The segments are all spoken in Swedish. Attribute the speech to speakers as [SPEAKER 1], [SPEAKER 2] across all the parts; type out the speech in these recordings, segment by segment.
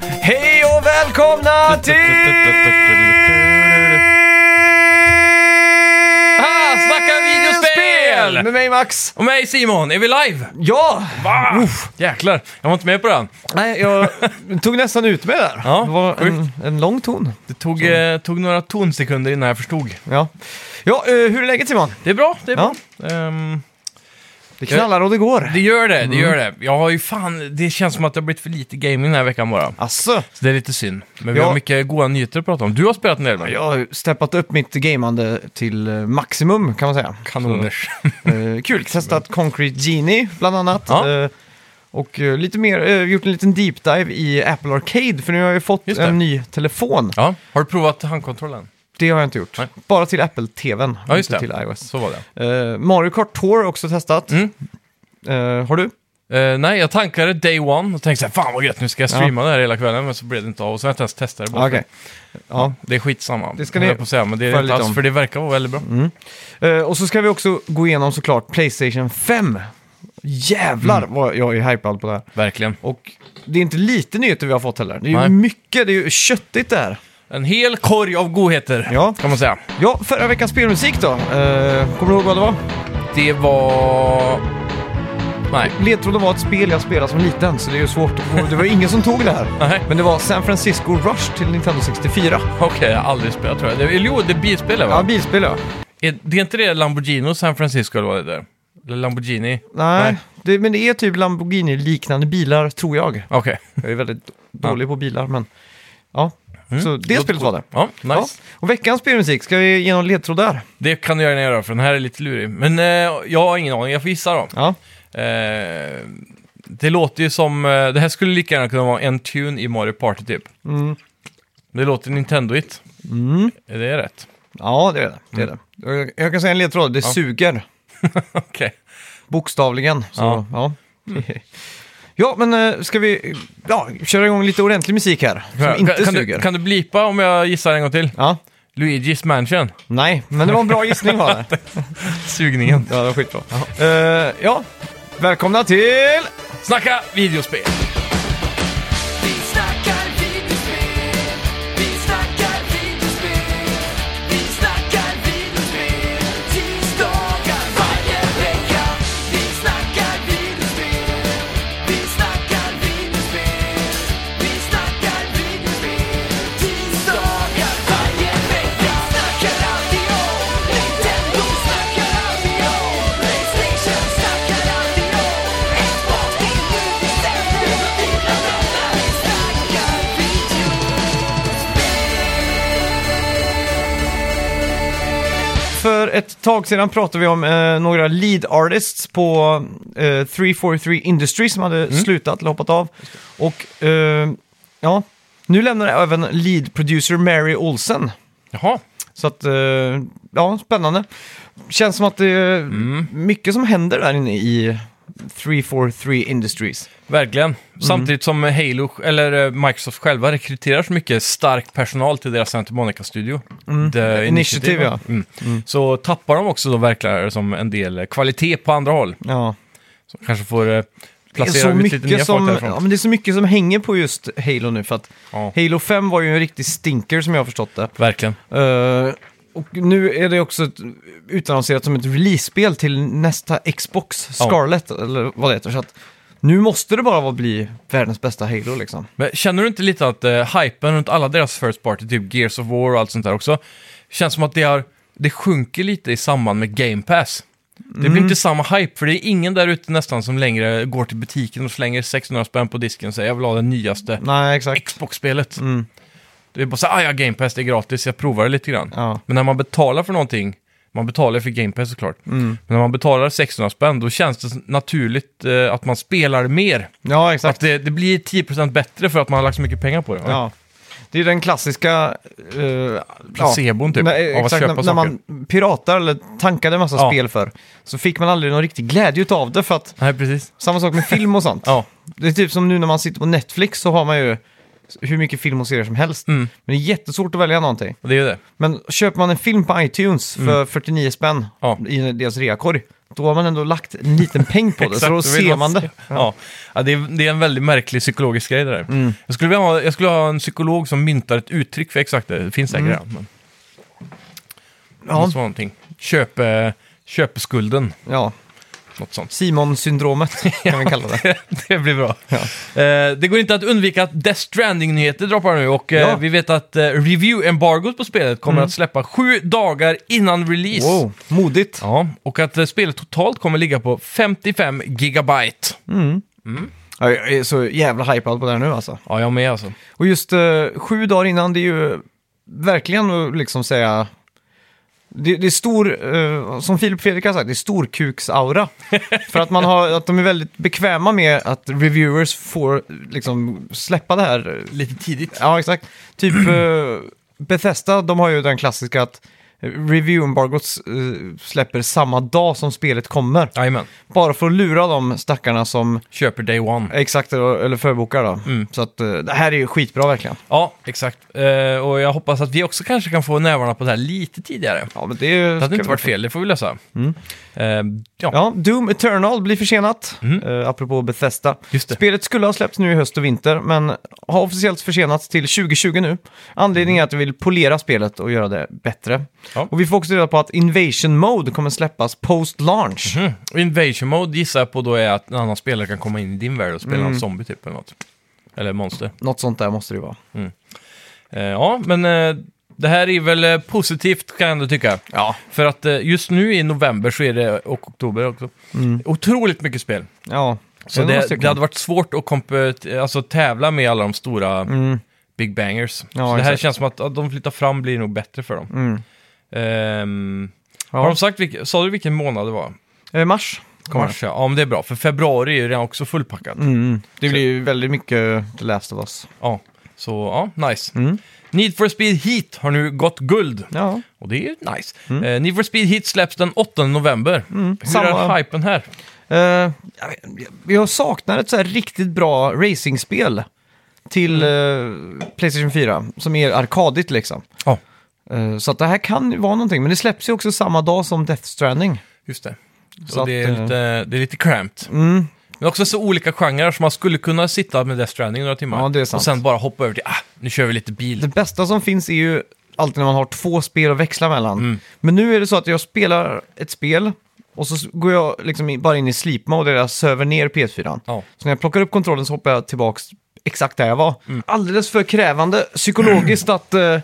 [SPEAKER 1] Hej och välkomna till...
[SPEAKER 2] Ah, snacka videospel!
[SPEAKER 1] Med mig Max.
[SPEAKER 2] Och mig Simon, är vi live?
[SPEAKER 1] Ja!
[SPEAKER 2] Va? Jäklar, jag var inte med på den.
[SPEAKER 1] Nej, jag tog nästan ut mig där.
[SPEAKER 2] Ja,
[SPEAKER 1] det var en,
[SPEAKER 2] sjukt.
[SPEAKER 1] en lång ton.
[SPEAKER 2] Det tog, eh, tog några tonsekunder innan jag förstod.
[SPEAKER 1] Ja. Ja, eh, hur är läget Simon?
[SPEAKER 2] Det är bra, det är
[SPEAKER 1] Ja.
[SPEAKER 2] bra. Ehm,
[SPEAKER 1] Det knallar och det går.
[SPEAKER 2] det gör det, det gör
[SPEAKER 1] Mm.
[SPEAKER 2] det. Jag har ju fan, det känns som att det har blivit för lite gaming den här veckan bara.
[SPEAKER 1] Asså,
[SPEAKER 2] Så det är lite synd. Men vi
[SPEAKER 1] Ja.
[SPEAKER 2] har mycket goda nyheter att prata om. Du har spelat en del va?
[SPEAKER 1] jag har steppat upp mitt gamande till eh, maximum kan man säga.
[SPEAKER 2] Kanoners.
[SPEAKER 1] Eh, kul, testat Concrete Genie bland annat.
[SPEAKER 2] Ja.
[SPEAKER 1] Eh, och eh, lite mer, eh, gjort en liten deep dive i Apple Arcade, för nu har jag ju fått
[SPEAKER 2] Just det.
[SPEAKER 1] en ny telefon.
[SPEAKER 2] Ja, har du provat handkontrollen?
[SPEAKER 1] Det har jag inte gjort.
[SPEAKER 2] Nej.
[SPEAKER 1] Bara till Apple-TVn,
[SPEAKER 2] Ja, just
[SPEAKER 1] inte
[SPEAKER 2] det.
[SPEAKER 1] till iOS.
[SPEAKER 2] Så var det.
[SPEAKER 1] Eh, Mario Kart Tour har också testat.
[SPEAKER 2] Mm.
[SPEAKER 1] Eh, har du?
[SPEAKER 2] Eh, nej, jag tankade day one och tänkte så här, fan vad gött, nu ska jag streama det här hela kvällen, men så blev det inte av. Och så har jag inte ens testat det. bara
[SPEAKER 1] Ja,
[SPEAKER 2] för-
[SPEAKER 1] Ah, Okej. Ja.
[SPEAKER 2] Det är skitsamma,
[SPEAKER 1] ska
[SPEAKER 2] det ska
[SPEAKER 1] ni
[SPEAKER 2] på att säga, men det
[SPEAKER 1] följa
[SPEAKER 2] är inte
[SPEAKER 1] lite om.
[SPEAKER 2] alls, för det verkar vara väldigt bra.
[SPEAKER 1] Eh, och så ska vi också gå igenom såklart Playstation 5. Jävlar
[SPEAKER 2] Mm.
[SPEAKER 1] vad jag är hypad på det här.
[SPEAKER 2] Verkligen.
[SPEAKER 1] Och det är inte lite nyheter vi har fått heller. Det är ju
[SPEAKER 2] Nej.
[SPEAKER 1] mycket, det är ju köttigt det här.
[SPEAKER 2] En hel korg av godheter,
[SPEAKER 1] Ja.
[SPEAKER 2] kan man säga.
[SPEAKER 1] Ja, förra veckans spelmusik då. Eh, kommer du ihåg vad det var?
[SPEAKER 2] Det var... Nej.
[SPEAKER 1] Ledtråden var ett spel jag spelade som liten, så det är ju svårt. att få- Det var ingen som tog det här.
[SPEAKER 2] Nej,
[SPEAKER 1] Men det var San Francisco Rush till Nintendo 64.
[SPEAKER 2] okej, jag har aldrig spelat tror jag. Det, eller jo, det är bilspel va?
[SPEAKER 1] Ja, bilspel ja.
[SPEAKER 2] Är, det är inte det Lamborghini och San Francisco eller vad det är? Eller Lamborghini?
[SPEAKER 1] Nej,
[SPEAKER 2] Nej.
[SPEAKER 1] det, men det är typ Lamborghini-liknande bilar, tror jag.
[SPEAKER 2] Okej.
[SPEAKER 1] Jag är väldigt dålig på bilar, men ja. Så det
[SPEAKER 2] Låter
[SPEAKER 1] spelet var det.
[SPEAKER 2] Ja, Mm. nice.
[SPEAKER 1] Ja. Och veckans spelmusik, ska vi ge någon ledtråd där?
[SPEAKER 2] Det kan du gärna göra, för den här är lite lurig. Men eh, jag har ingen aning, jag får gissa då.
[SPEAKER 1] Ja.
[SPEAKER 2] Eh, det låter ju som... Eh, det här skulle lika gärna kunna vara en tune i Mario Party typ.
[SPEAKER 1] Mm.
[SPEAKER 2] Det låter Nintendo-igt.
[SPEAKER 1] Mm.
[SPEAKER 2] Är det rätt?
[SPEAKER 1] Ja, det är det. det, är
[SPEAKER 2] Mm.
[SPEAKER 1] det. Jag, jag kan säga en ledtråd, det suger.
[SPEAKER 2] Okej.
[SPEAKER 1] Bokstavligen. Så, ja.
[SPEAKER 2] Ja.
[SPEAKER 1] Ja. men eh, ska vi eh, ja, köra igång lite ordentlig musik här? Som inte
[SPEAKER 2] kan,
[SPEAKER 1] suger.
[SPEAKER 2] du, kan du blipa om jag gissar en gång till?
[SPEAKER 1] Ja.
[SPEAKER 2] Luigi's Mansion.
[SPEAKER 1] Nej, men det var en bra gissning var det.
[SPEAKER 2] Sugningen.
[SPEAKER 1] Ja, det var skitbra. Eh, ja, välkomna till...
[SPEAKER 2] Snacka videospel!
[SPEAKER 3] Vi snackar videospel, vi snackar videospel, vi snackar videospel, tisdagar varje vecka. Vi snackar videospel, vi snackar videospel, vi snackar videospel, tisdagar varje vecka. Snackar alltid om Nintendo, snackar alltid om Playstation, snackar alltid om Xbox, det är nu vi sätter dina vänner. Vi snackar videospel.
[SPEAKER 1] För ett tag sedan pratade vi om eh, några lead artists på eh, 343 Industries som hade slutat eller hoppat av. Och eh, ja, nu lämnar även lead producer Mary Olsen.
[SPEAKER 2] Jaha,
[SPEAKER 1] Så att, eh, ja, spännande. Känns som att det är
[SPEAKER 2] Mm.
[SPEAKER 1] mycket som händer där inne i 343 Industries.
[SPEAKER 2] verkligen.
[SPEAKER 1] Mm.
[SPEAKER 2] Samtidigt som Halo, eller eh, Microsoft själva rekryterar så mycket stark personal till deras Santa Monica-studio. The
[SPEAKER 1] Mm. Initiative, ja.
[SPEAKER 2] Mm. Så tappar de också då verkligen som en del eh, kvalitet på andra håll.
[SPEAKER 1] Ja.
[SPEAKER 2] Så kanske får eh,
[SPEAKER 1] Det är,
[SPEAKER 2] placera
[SPEAKER 1] så
[SPEAKER 2] ut lite nya
[SPEAKER 1] mycket som,
[SPEAKER 2] folk
[SPEAKER 1] ja,
[SPEAKER 2] därifrån.
[SPEAKER 1] men det är så mycket som hänger på just Halo nu. För att
[SPEAKER 2] Ja,
[SPEAKER 1] Halo 5 var ju en riktig stinker som jag har förstått det.
[SPEAKER 2] verkligen.
[SPEAKER 1] Eh, och nu är det också ett, utannonserat som ett release-spel till nästa Xbox
[SPEAKER 2] Ja.
[SPEAKER 1] Scarlet, eller vad det heter. Så att nu måste det bara vara bli världens bästa Halo liksom.
[SPEAKER 2] Men känner du inte lite att eh, hypen runt alla deras first party, typ Gears of War och allt sånt där också, känns som att det, har, det sjunker lite i samband med Game Pass. Det blir
[SPEAKER 1] Mm.
[SPEAKER 2] inte samma hype, för det är ingen där ute nästan som längre går till butiken och slänger 600 spänn på disken och säger jag vill ha det nyaste
[SPEAKER 1] Nej, exakt.
[SPEAKER 2] Xbox-spelet.
[SPEAKER 1] Mm.
[SPEAKER 2] Det är bara så här, "Ah, ja, Game Pass, det är gratis, jag provar det lite grann.
[SPEAKER 1] Ja.
[SPEAKER 2] Men när man betalar för någonting, man betalar för Game Pass såklart,
[SPEAKER 1] Mm.
[SPEAKER 2] men när man betalar 600 spänn, då känns det naturligt eh, att man spelar mer.
[SPEAKER 1] ja,
[SPEAKER 2] Att
[SPEAKER 1] exakt.
[SPEAKER 2] det, det blir 10% bättre för att man har lagt så mycket pengar på det. va?
[SPEAKER 1] Ja. Det är ju den klassiska... Uh,
[SPEAKER 2] Placebon typ,
[SPEAKER 1] Nej,
[SPEAKER 2] av att
[SPEAKER 1] exakt,
[SPEAKER 2] köpa
[SPEAKER 1] när, när
[SPEAKER 2] saker.
[SPEAKER 1] man piratar eller tankade en massa
[SPEAKER 2] Ja.
[SPEAKER 1] spel för så fick man aldrig någon riktig glädje av det för att
[SPEAKER 2] Nej, precis.
[SPEAKER 1] samma sak med film och sånt.
[SPEAKER 2] Ja,
[SPEAKER 1] Det är typ som nu när man sitter på Netflix så har man ju hur mycket film och serier som helst.
[SPEAKER 2] Mm.
[SPEAKER 1] Men det är jättesvårt att välja någonting.
[SPEAKER 2] och det är ju det.
[SPEAKER 1] Men köper man en film på iTunes för 49 spänn
[SPEAKER 2] Mm. Ja.
[SPEAKER 1] i deras reakorg, då har man ändå lagt en liten peng på det, så då
[SPEAKER 2] Exakt, vill
[SPEAKER 1] ser man det.
[SPEAKER 2] Ja, ja det, är, det är en väldigt märklig psykologisk grej det där.
[SPEAKER 1] Mm.
[SPEAKER 2] Jag, skulle vilja ha, jag skulle ha en psykolog som myntar ett uttryck för exakt det. Det finns säkert redan. Men det
[SPEAKER 1] Mm. Ja,
[SPEAKER 2] måste vara någonting. Köpe, köpeskulden,
[SPEAKER 1] ja.
[SPEAKER 2] något sånt.
[SPEAKER 1] Simon-syndromet kan vi kalla det.
[SPEAKER 2] det blir bra. Eh, det går inte att undvika att Death Stranding-nyheter droppar nu och eh,
[SPEAKER 1] Ja. Mm.
[SPEAKER 2] vi vet att eh, review-embargot på spelet kommer att släppa sju dagar innan release.
[SPEAKER 1] Wow, modigt.
[SPEAKER 2] Ja, och att eh, spelet totalt kommer ligga på 55 gigabyte.
[SPEAKER 1] Ja, jag är så jävla hypad på det här nu alltså.
[SPEAKER 2] Ja, jag med alltså.
[SPEAKER 1] Och just eh, sju dagar innan, det är ju verkligen att liksom säga... Det, det är stor, eh, som Filip Fredrik har sagt, det är storkuksaura. För att, man har, att de är väldigt bekväma med att reviewers får liksom släppa det här. eh,
[SPEAKER 2] Lite tidigt.
[SPEAKER 1] Ja, exakt. Typ eh, Bethesda, de har ju den klassiska att review-embargot eh, släpper samma dag som spelet kommer.
[SPEAKER 2] Jajamän.
[SPEAKER 1] Bara för att lura de stackarna som
[SPEAKER 2] Köper day one.
[SPEAKER 1] Exakt, eller förbokar då.
[SPEAKER 2] Mm.
[SPEAKER 1] Så att eh, det här är ju skitbra verkligen.
[SPEAKER 2] Ja, exakt. Eh, och jag hoppas att vi också kanske kan få nävarna på det här lite tidigare.
[SPEAKER 1] Ja, men det, är ju-
[SPEAKER 2] Det hade
[SPEAKER 1] ska vi-
[SPEAKER 2] inte
[SPEAKER 1] Mm.
[SPEAKER 2] varit fel, det får vi lösa. Eh, ja.
[SPEAKER 1] Ja, Doom Eternal blir försenat,
[SPEAKER 2] Mm.
[SPEAKER 1] eh, apropå Bethesda.
[SPEAKER 2] Just det.
[SPEAKER 1] Spelet skulle ha släppts nu i höst och vinter, men har officiellt försenats till 2020 nu. Anledningen är att vi vill polera spelet och göra det bättre.
[SPEAKER 2] Mhm. Ja.
[SPEAKER 1] Och vi får också reda på att Invasion Mode kommer släppas post-launch.
[SPEAKER 2] Mm. Och Invasion Mode gissar jag på då är att en annan spelare kan komma in i din värld och
[SPEAKER 1] Mm.
[SPEAKER 2] spela en zombie typ eller något. Eller monster.
[SPEAKER 1] Något sånt där måste det ju vara.
[SPEAKER 2] Eh, ja, men eh, det här är väl eh, positivt kan jag ändå tycka.
[SPEAKER 1] Ja.
[SPEAKER 2] För att eh, just nu i november så är det, och oktober också,
[SPEAKER 1] Mm.
[SPEAKER 2] otroligt mycket spel.
[SPEAKER 1] Ja.
[SPEAKER 2] Så
[SPEAKER 1] är några
[SPEAKER 2] det,
[SPEAKER 1] stycken.
[SPEAKER 2] det hade varit svårt att komp- alltså, tävla med alla de stora Big Bangers. så det här
[SPEAKER 1] Mm. exakt.
[SPEAKER 2] känns som att, att de flyttar fram blir nog bättre för dem.
[SPEAKER 1] Mm.
[SPEAKER 2] Ehm,
[SPEAKER 1] Ja.
[SPEAKER 2] Har de sagt, vilk- sa du vilken månad det var?
[SPEAKER 1] Eh, mars kommer det.
[SPEAKER 2] Mars, ja. ja, men det är bra, för februari är ju redan också fullpackat.
[SPEAKER 1] Mm. Det blir ju väldigt mycket The Last of Us.
[SPEAKER 2] Ja, så ja, nice.
[SPEAKER 1] Mm.
[SPEAKER 2] Need for Speed Heat har nu gått guld.
[SPEAKER 1] Ja.
[SPEAKER 2] Och det är ju nice.
[SPEAKER 1] Mm.
[SPEAKER 2] Eh, Need for Speed Heat släpps den 8 november. Hur
[SPEAKER 1] samma-
[SPEAKER 2] är hypen här?
[SPEAKER 1] Eh, jag vet- jag- jag saknar ett så här riktigt bra racingspel till eh, Playstation 4, som är arkadigt liksom.
[SPEAKER 2] Ja,
[SPEAKER 1] Eh, så att det här kan ju vara någonting, men det släpps ju också samma dag som Death Stranding.
[SPEAKER 2] just det. Så,
[SPEAKER 1] Så att,
[SPEAKER 2] det, är
[SPEAKER 1] eh, Mm.
[SPEAKER 2] lite, det är lite cramped. Men också så olika genrer, så man skulle kunna sitta med Death Stranding några timmar.
[SPEAKER 1] Ja, det är sant.
[SPEAKER 2] Och sen bara hoppa över till, ah, nu kör vi lite bil.
[SPEAKER 1] Det bästa som finns är ju alltid när man har två spel att växla mellan. Men nu är det så att jag spelar ett spel och så s- går jag liksom i- bara in i sleep mode, där jag söver ner PS4.
[SPEAKER 2] Ja.
[SPEAKER 1] Så när jag plockar upp kontrollen så hoppar jag tillbaka exakt där jag var. Alldeles för krävande psykologiskt att eh,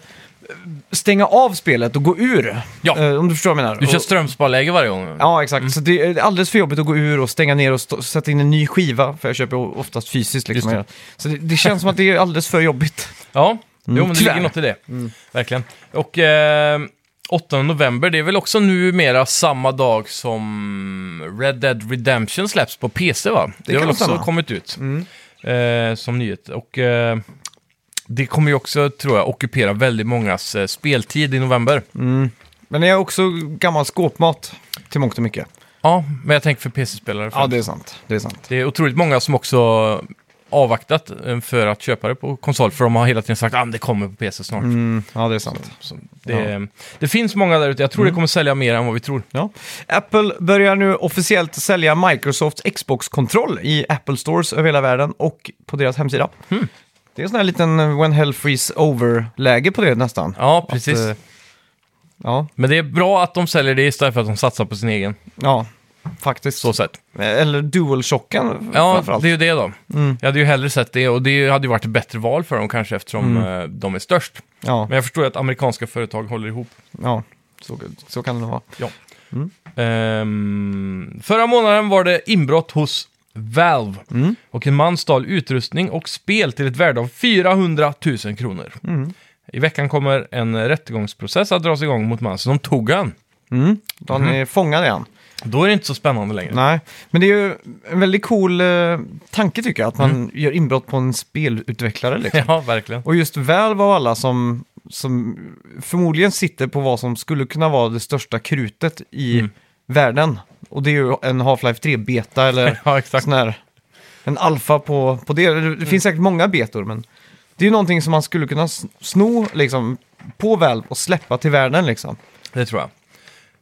[SPEAKER 1] stänga av spelet och gå ur.
[SPEAKER 2] Ja.
[SPEAKER 1] Eh, om du Mm. förstår vad jag menar.
[SPEAKER 2] Du kör
[SPEAKER 1] och,
[SPEAKER 2] strömsparläge varje gång.
[SPEAKER 1] ja, exakt. Så det är alldeles för jobbigt att gå ur och stänga ner och stå, sätta in en ny skiva. För jag köper o- oftast fysiskt. Liksom.
[SPEAKER 2] Just
[SPEAKER 1] Så det, det känns som att det är alldeles för jobbigt.
[SPEAKER 2] Ja, jo, men det
[SPEAKER 1] Mm. tyvärr. Mm.
[SPEAKER 2] ligger något i det. Verkligen. Och eh, 8 november, det är väl också numera samma dag som Red Dead Redemption släpps på PC va? Det, har
[SPEAKER 1] kan
[SPEAKER 2] väl också
[SPEAKER 1] stämma. Mm.
[SPEAKER 2] kommit ut eh, som nyhet. Och eh, det kommer ju också, tror jag, ockupera väldigt mångas eh, speltid i november.
[SPEAKER 1] Mm. Men jag är också gammal skåpmat till mångt och mycket.
[SPEAKER 2] Ja, men jag tänker för PC-spelare.
[SPEAKER 1] Ja, det är sant. Det är sant.
[SPEAKER 2] Det är otroligt många som också avvaktat eh, för att köpa det på konsol, för de har hela tiden sagt att ah, det kommer på PC snart.
[SPEAKER 1] Mm, ja, det är sant.
[SPEAKER 2] Så det, det finns många där ute. Jag tror det kommer sälja mer än vad vi tror.
[SPEAKER 1] Ja. Apple börjar nu officiellt sälja Microsofts Xbox-kontroll i Apple Stores över hela världen och på deras hemsida.
[SPEAKER 2] Hmm.
[SPEAKER 1] Det är en sån här liten eh, When Hell Freeze Over-läge på det nästan.
[SPEAKER 2] Ja, precis.
[SPEAKER 1] Att, eh, ja,
[SPEAKER 2] Men det är bra att de säljer det istället för att de satsar på sin egen.
[SPEAKER 1] ja, faktiskt.
[SPEAKER 2] Så sett.
[SPEAKER 1] Eller DualShocken
[SPEAKER 2] Ja,
[SPEAKER 1] framförallt.
[SPEAKER 2] det är ju det då. Jag hade ju hellre sett det och det hade ju varit ett bättre val för dem kanske eftersom eh, de är störst.
[SPEAKER 1] Ja,
[SPEAKER 2] Men jag förstår ju att amerikanska företag håller ihop.
[SPEAKER 1] ja. Så, så kan det nog vara.
[SPEAKER 2] Ehm, förra månaden var det inbrott hos Valve och en man stal utrustning och spel till ett värde av 400 000 kronor. I veckan kommer
[SPEAKER 1] Mm.
[SPEAKER 2] en rättegångsprocess att dras igång mot mannen som tog han.
[SPEAKER 1] Då han är fångad igen.
[SPEAKER 2] Då är det inte så spännande längre.
[SPEAKER 1] Nej, men det är ju en väldigt cool eh, tanke tycker jag, att man
[SPEAKER 2] Mm.
[SPEAKER 1] gör inbrott på en spelutvecklare liksom.
[SPEAKER 2] Ja, verkligen.
[SPEAKER 1] Och just Valve av alla som, som förmodligen sitter på vad som skulle kunna vara det största krutet i
[SPEAKER 2] Mm.
[SPEAKER 1] världen. Och det är ju en Half-Life 3-beta eller
[SPEAKER 2] Ja, exakt. Mm.
[SPEAKER 1] sån här, en alfa på, på det. Det finns säkert många betor, men det är ju någonting som man skulle kunna s- sno liksom, på Valve och släppa till världen liksom.
[SPEAKER 2] Det tror jag.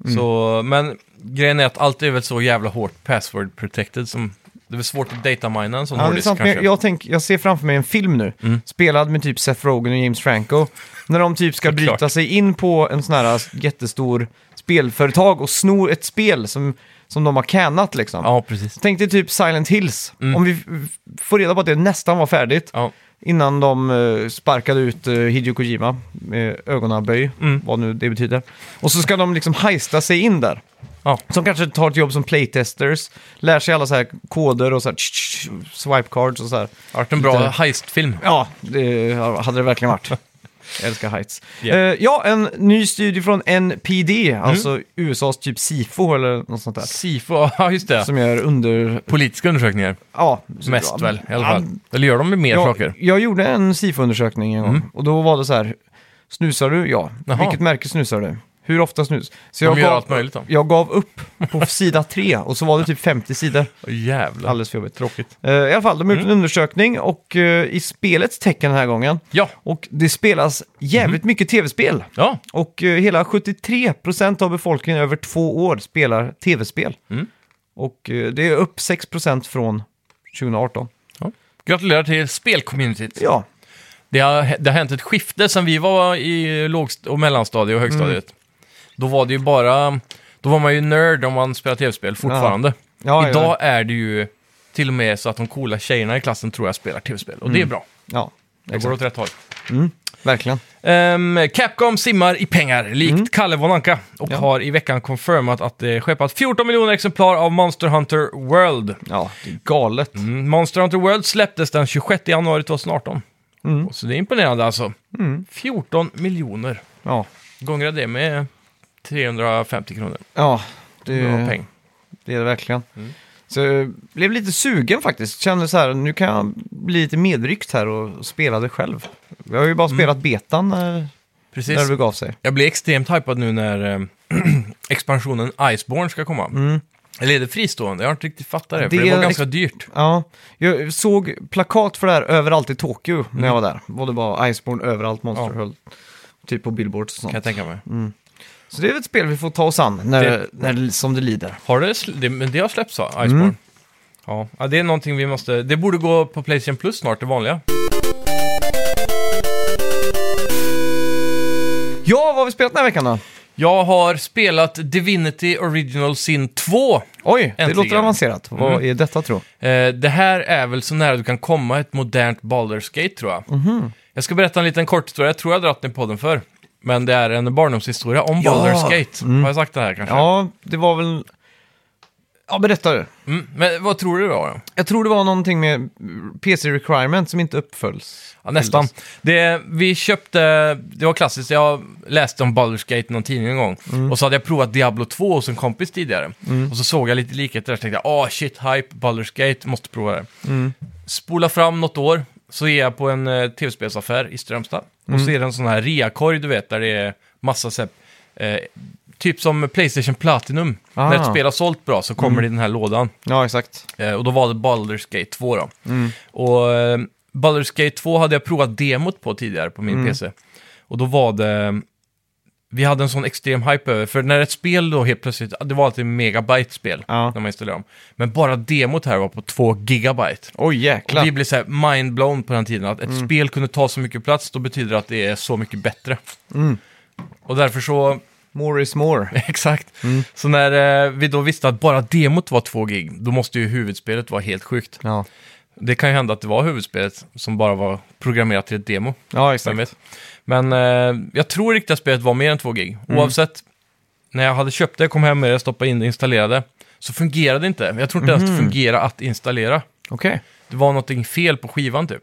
[SPEAKER 1] Mm.
[SPEAKER 2] Så, men grejen är att allt är väl så jävla hårt password protected som... Det är väl svårt att datamina en sån
[SPEAKER 1] Ja, det är
[SPEAKER 2] hårddisk
[SPEAKER 1] sant, men
[SPEAKER 2] kanske. Mm.
[SPEAKER 1] jag, jag, tänk, jag ser framför mig en film nu, spelad med typ Seth Rogen och James Franco. När de typ ska
[SPEAKER 2] Såklart.
[SPEAKER 1] bryta sig in på en sån här jättestor spelföretag och snor ett spel som, som de har cannat liksom.
[SPEAKER 2] Ja, precis.
[SPEAKER 1] Tänk dig typ Silent Hills,
[SPEAKER 2] Mm.
[SPEAKER 1] om vi f- får reda på att det nästan var färdigt
[SPEAKER 2] Ja.
[SPEAKER 1] innan de eh, sparkade ut eh, Hideo Kojima med ögonaböj,
[SPEAKER 2] Mm.
[SPEAKER 1] vad nu det betyder. Och så ska de liksom heista sig in där.
[SPEAKER 2] Ja.
[SPEAKER 1] Som kanske tar ett jobb som playtesters, lär sig alla så här koder och så här tsch, tsch, swipe cards och så här.
[SPEAKER 2] Det har varit en bra
[SPEAKER 1] Lite-
[SPEAKER 2] heistfilm.
[SPEAKER 1] Ja, det hade det verkligen varit. Jag älskar Heights.
[SPEAKER 2] Ja.
[SPEAKER 1] Eh, ja, en ny studie från NPD,
[SPEAKER 2] Mm.
[SPEAKER 1] alltså USAs typ SIFO eller något sånt där.
[SPEAKER 2] Sifo, ja just det.
[SPEAKER 1] Som gör under...
[SPEAKER 2] Politiska undersökningar.
[SPEAKER 1] Ja,
[SPEAKER 2] Mest
[SPEAKER 1] ja,
[SPEAKER 2] väl i alla
[SPEAKER 1] ja,
[SPEAKER 2] fall. Eller gör de ju mer saker?
[SPEAKER 1] Jag, jag gjorde en SIFO-undersökning en gång och då var det så här, snusar du? Ja.
[SPEAKER 2] Mm. Jaha.
[SPEAKER 1] Vilket märke snusar du? Hur ofta snus? Så
[SPEAKER 2] De
[SPEAKER 1] jag,
[SPEAKER 2] gör
[SPEAKER 1] gav,
[SPEAKER 2] allt möjligt då.
[SPEAKER 1] jag gav upp på sida tre och så var det typ 50 sidor.
[SPEAKER 2] Åh, Jävlar.
[SPEAKER 1] Alldeles för jobbigt.
[SPEAKER 2] Tråkigt. Mm.
[SPEAKER 1] Eh, I alla fall, de har gjort en undersökning och eh, i spelets tecken den här gången.
[SPEAKER 2] Ja.
[SPEAKER 1] Och det spelas jävligt
[SPEAKER 2] Mm.
[SPEAKER 1] mycket tv-spel.
[SPEAKER 2] Ja.
[SPEAKER 1] Och eh, hela 73% av befolkningen över två år spelar tv-spel.
[SPEAKER 2] Mm.
[SPEAKER 1] Och eh, det är upp 6% från 2018.
[SPEAKER 2] Gratulerar till spelcommunityt.
[SPEAKER 1] Ja,
[SPEAKER 2] Det har, det har hänt ett skifte sen vi var i lågst och mellanstadiet och högstadiet.
[SPEAKER 1] Mm.
[SPEAKER 2] Då var det ju bara... Då var man ju nörd om man spelade tv-spel fortfarande.
[SPEAKER 1] Ja, ja.
[SPEAKER 2] Idag är det ju till och med så att de coola tjejerna i klassen tror jag spelar tv-spel. Och
[SPEAKER 1] Mm.
[SPEAKER 2] det är bra.
[SPEAKER 1] ja
[SPEAKER 2] Det går åt rätt håll.
[SPEAKER 1] verkligen.
[SPEAKER 2] Ehm, Capcom simmar i pengar, likt Kalle von Anka. Och
[SPEAKER 1] Mm. Ja.
[SPEAKER 2] har i veckan confirmat att det skeppat 14 miljoner exemplar av Monster Hunter World.
[SPEAKER 1] Ja, det är galet.
[SPEAKER 2] Mm, Monster Hunter World släpptes den 26 januari 2018.
[SPEAKER 1] Mm.
[SPEAKER 2] Så det är imponerande alltså. 14 miljoner.
[SPEAKER 1] Ja,
[SPEAKER 2] Gångra det med 350 kronor.
[SPEAKER 1] ja det,
[SPEAKER 2] Bra peng.
[SPEAKER 1] det är det verkligen.
[SPEAKER 2] Mm.
[SPEAKER 1] Så jag blev lite sugen faktiskt. Kände så här, nu kan jag bli lite medryckt här och spela det själv. Jag har ju bara spelat betan eh,
[SPEAKER 2] Mm. Precis.
[SPEAKER 1] när det begav sig.
[SPEAKER 2] Jag blir extremt hypad nu när eh, expansionen Iceborne ska komma. Eller är det fristående? Jag har inte riktigt fattat det,
[SPEAKER 1] Mm. Det
[SPEAKER 2] för det
[SPEAKER 1] är
[SPEAKER 2] var
[SPEAKER 1] en
[SPEAKER 2] ganska dyrt.
[SPEAKER 1] Ja, jag såg plakat för det här överallt i Tokyo när jag var där. Var det bara Iceborne överallt, Monster
[SPEAKER 2] Mm. Ja.
[SPEAKER 1] Höll, typ på billboards och
[SPEAKER 2] Kan jag
[SPEAKER 1] sånt.
[SPEAKER 2] tänka mig.
[SPEAKER 1] Så det är väl ett spel vi får ta oss an när,
[SPEAKER 2] Det-
[SPEAKER 1] när, som det lider.
[SPEAKER 2] Har det, sl- det, men det har släppts va? Iceborne?
[SPEAKER 1] Mm.
[SPEAKER 2] Ja. ja, det är någonting vi måste... Det borde gå på Playstation Plus snart, det vanliga.
[SPEAKER 1] Ja, vad har vi spelat den här veckan då?
[SPEAKER 2] Jag har spelat Divinity Original Sin 2.
[SPEAKER 1] Oj, det
[SPEAKER 2] Äntligen.
[SPEAKER 1] låter avancerat. Vad
[SPEAKER 2] Mm.
[SPEAKER 1] är detta tro?
[SPEAKER 2] Eh, det här är väl så nära du kan komma ett modernt Baldur's Gate tror jag. Jag ska berätta en liten kort historia, jag tror jag har dragit den i podden för. Men det är en barndomshistoria om
[SPEAKER 1] Ja.
[SPEAKER 2] Baldur's Gate. Har jag sagt det här kanske?
[SPEAKER 1] Ja, det var väl... Ja, berätta du.
[SPEAKER 2] Mm. Men vad tror du det var då?
[SPEAKER 1] Jag tror det var någonting med PC requirement som inte uppföljs.
[SPEAKER 2] Ja, nästan. Det, vi köpte, det var klassiskt, jag läste om Baldur's Gate i någon tidning en gång. Och så hade jag provat Diablo 2 hos en kompis tidigare. Och så såg jag lite likheter där, så tänkte jag, ah shit, hype, Baldur's Gate, måste prova det. Spola fram något år, så är jag på en eh, tv-spelsaffär i Strömstad. Och
[SPEAKER 1] Mm.
[SPEAKER 2] så är det en sån här reakorg, du vet, där det är massa så här, eh, typ som Playstation Platinum.
[SPEAKER 1] Ah. Mm.
[SPEAKER 2] När ett spel har sålt bra så kommer det i den här lådan.
[SPEAKER 1] Ja, exakt.
[SPEAKER 2] Eh, Och då var det Baldur's Gate 2 då.
[SPEAKER 1] Mm.
[SPEAKER 2] Och eh, Baldur's Gate 2 hade jag provat demot på tidigare på min
[SPEAKER 1] Mm.
[SPEAKER 2] PC. Och då var det... Vi hade en sån extrem hype över, för när ett spel då helt plötsligt, det var alltid megabyte-spel
[SPEAKER 1] Ja.
[SPEAKER 2] när man installerade dem. Men bara demot här var på 2 gigabyte.
[SPEAKER 1] Oj,
[SPEAKER 2] Och
[SPEAKER 1] jäklar.
[SPEAKER 2] vi blev så här mindblown på den tiden, att ett spel kunde ta så mycket plats, då betyder det att det är så mycket bättre. Och därför så
[SPEAKER 1] More is more.
[SPEAKER 2] Exakt. Så när eh, vi då visste att bara demot var 2 gig, då måste ju huvudspelet vara helt sjukt.
[SPEAKER 1] Ja,
[SPEAKER 2] Det kan ju hända att det var huvudspelet som bara var programmerat till ett demo.
[SPEAKER 1] ja
[SPEAKER 2] Vem
[SPEAKER 1] exakt.
[SPEAKER 2] vet. Men eh, jag tror riktiga spelet var mer än 2 gig. Oavsett, när jag hade köpt det, kom hem med det, stoppade in det, installerade, så fungerade det inte. Jag tror inte ens det fungerade att installera.
[SPEAKER 1] Okej. Mm.
[SPEAKER 2] Det var någonting fel på skivan typ.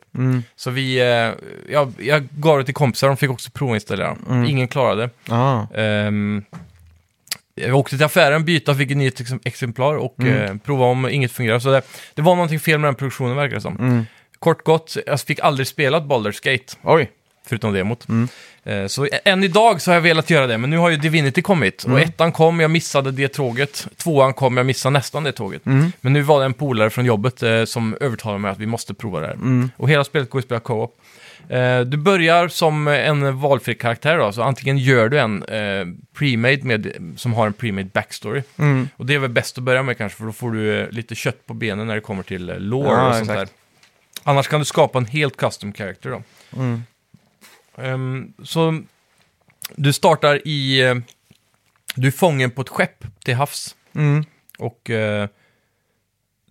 [SPEAKER 2] Så vi, eh, jag, jag gav det till kompisar, de fick också provinstallera. Ingen klarade det.
[SPEAKER 1] Ah.
[SPEAKER 2] Ehm, Jag åkte till affären, byta, fick ett nytt ex- exemplar och eh, prova om inget fungerar. Så det, det var någonting fel med den produktionen verkar det som.
[SPEAKER 1] Mm.
[SPEAKER 2] Kort gott, jag fick aldrig spelat Baldur's Gate,
[SPEAKER 1] Oj.
[SPEAKER 2] förutom demot. Eh, så ä- än idag så har jag velat göra det, men nu har ju Divinity kommit. Och ettan kom, jag missade det tåget. Tvåan kom, jag missade nästan det tåget. Men nu var det en polare från jobbet eh, som övertalade mig att vi måste prova
[SPEAKER 1] Mm.
[SPEAKER 2] det här. Och hela spelet går att spela co-op. Eh, Du börjar som en valfri karaktär då, så antingen gör du en eh, premade med, som har en premade backstory.
[SPEAKER 1] Mm.
[SPEAKER 2] Och det är väl bäst att börja med kanske, för då får du eh, lite kött på benen när det kommer till eh, lore
[SPEAKER 1] Ja,
[SPEAKER 2] och sånt
[SPEAKER 1] exakt.
[SPEAKER 2] där. Annars kan du skapa en helt custom character då.
[SPEAKER 1] Mm.
[SPEAKER 2] Ehm, så du startar i... eh, du är fången på ett skepp till havs.
[SPEAKER 1] Mm.
[SPEAKER 2] Och eh,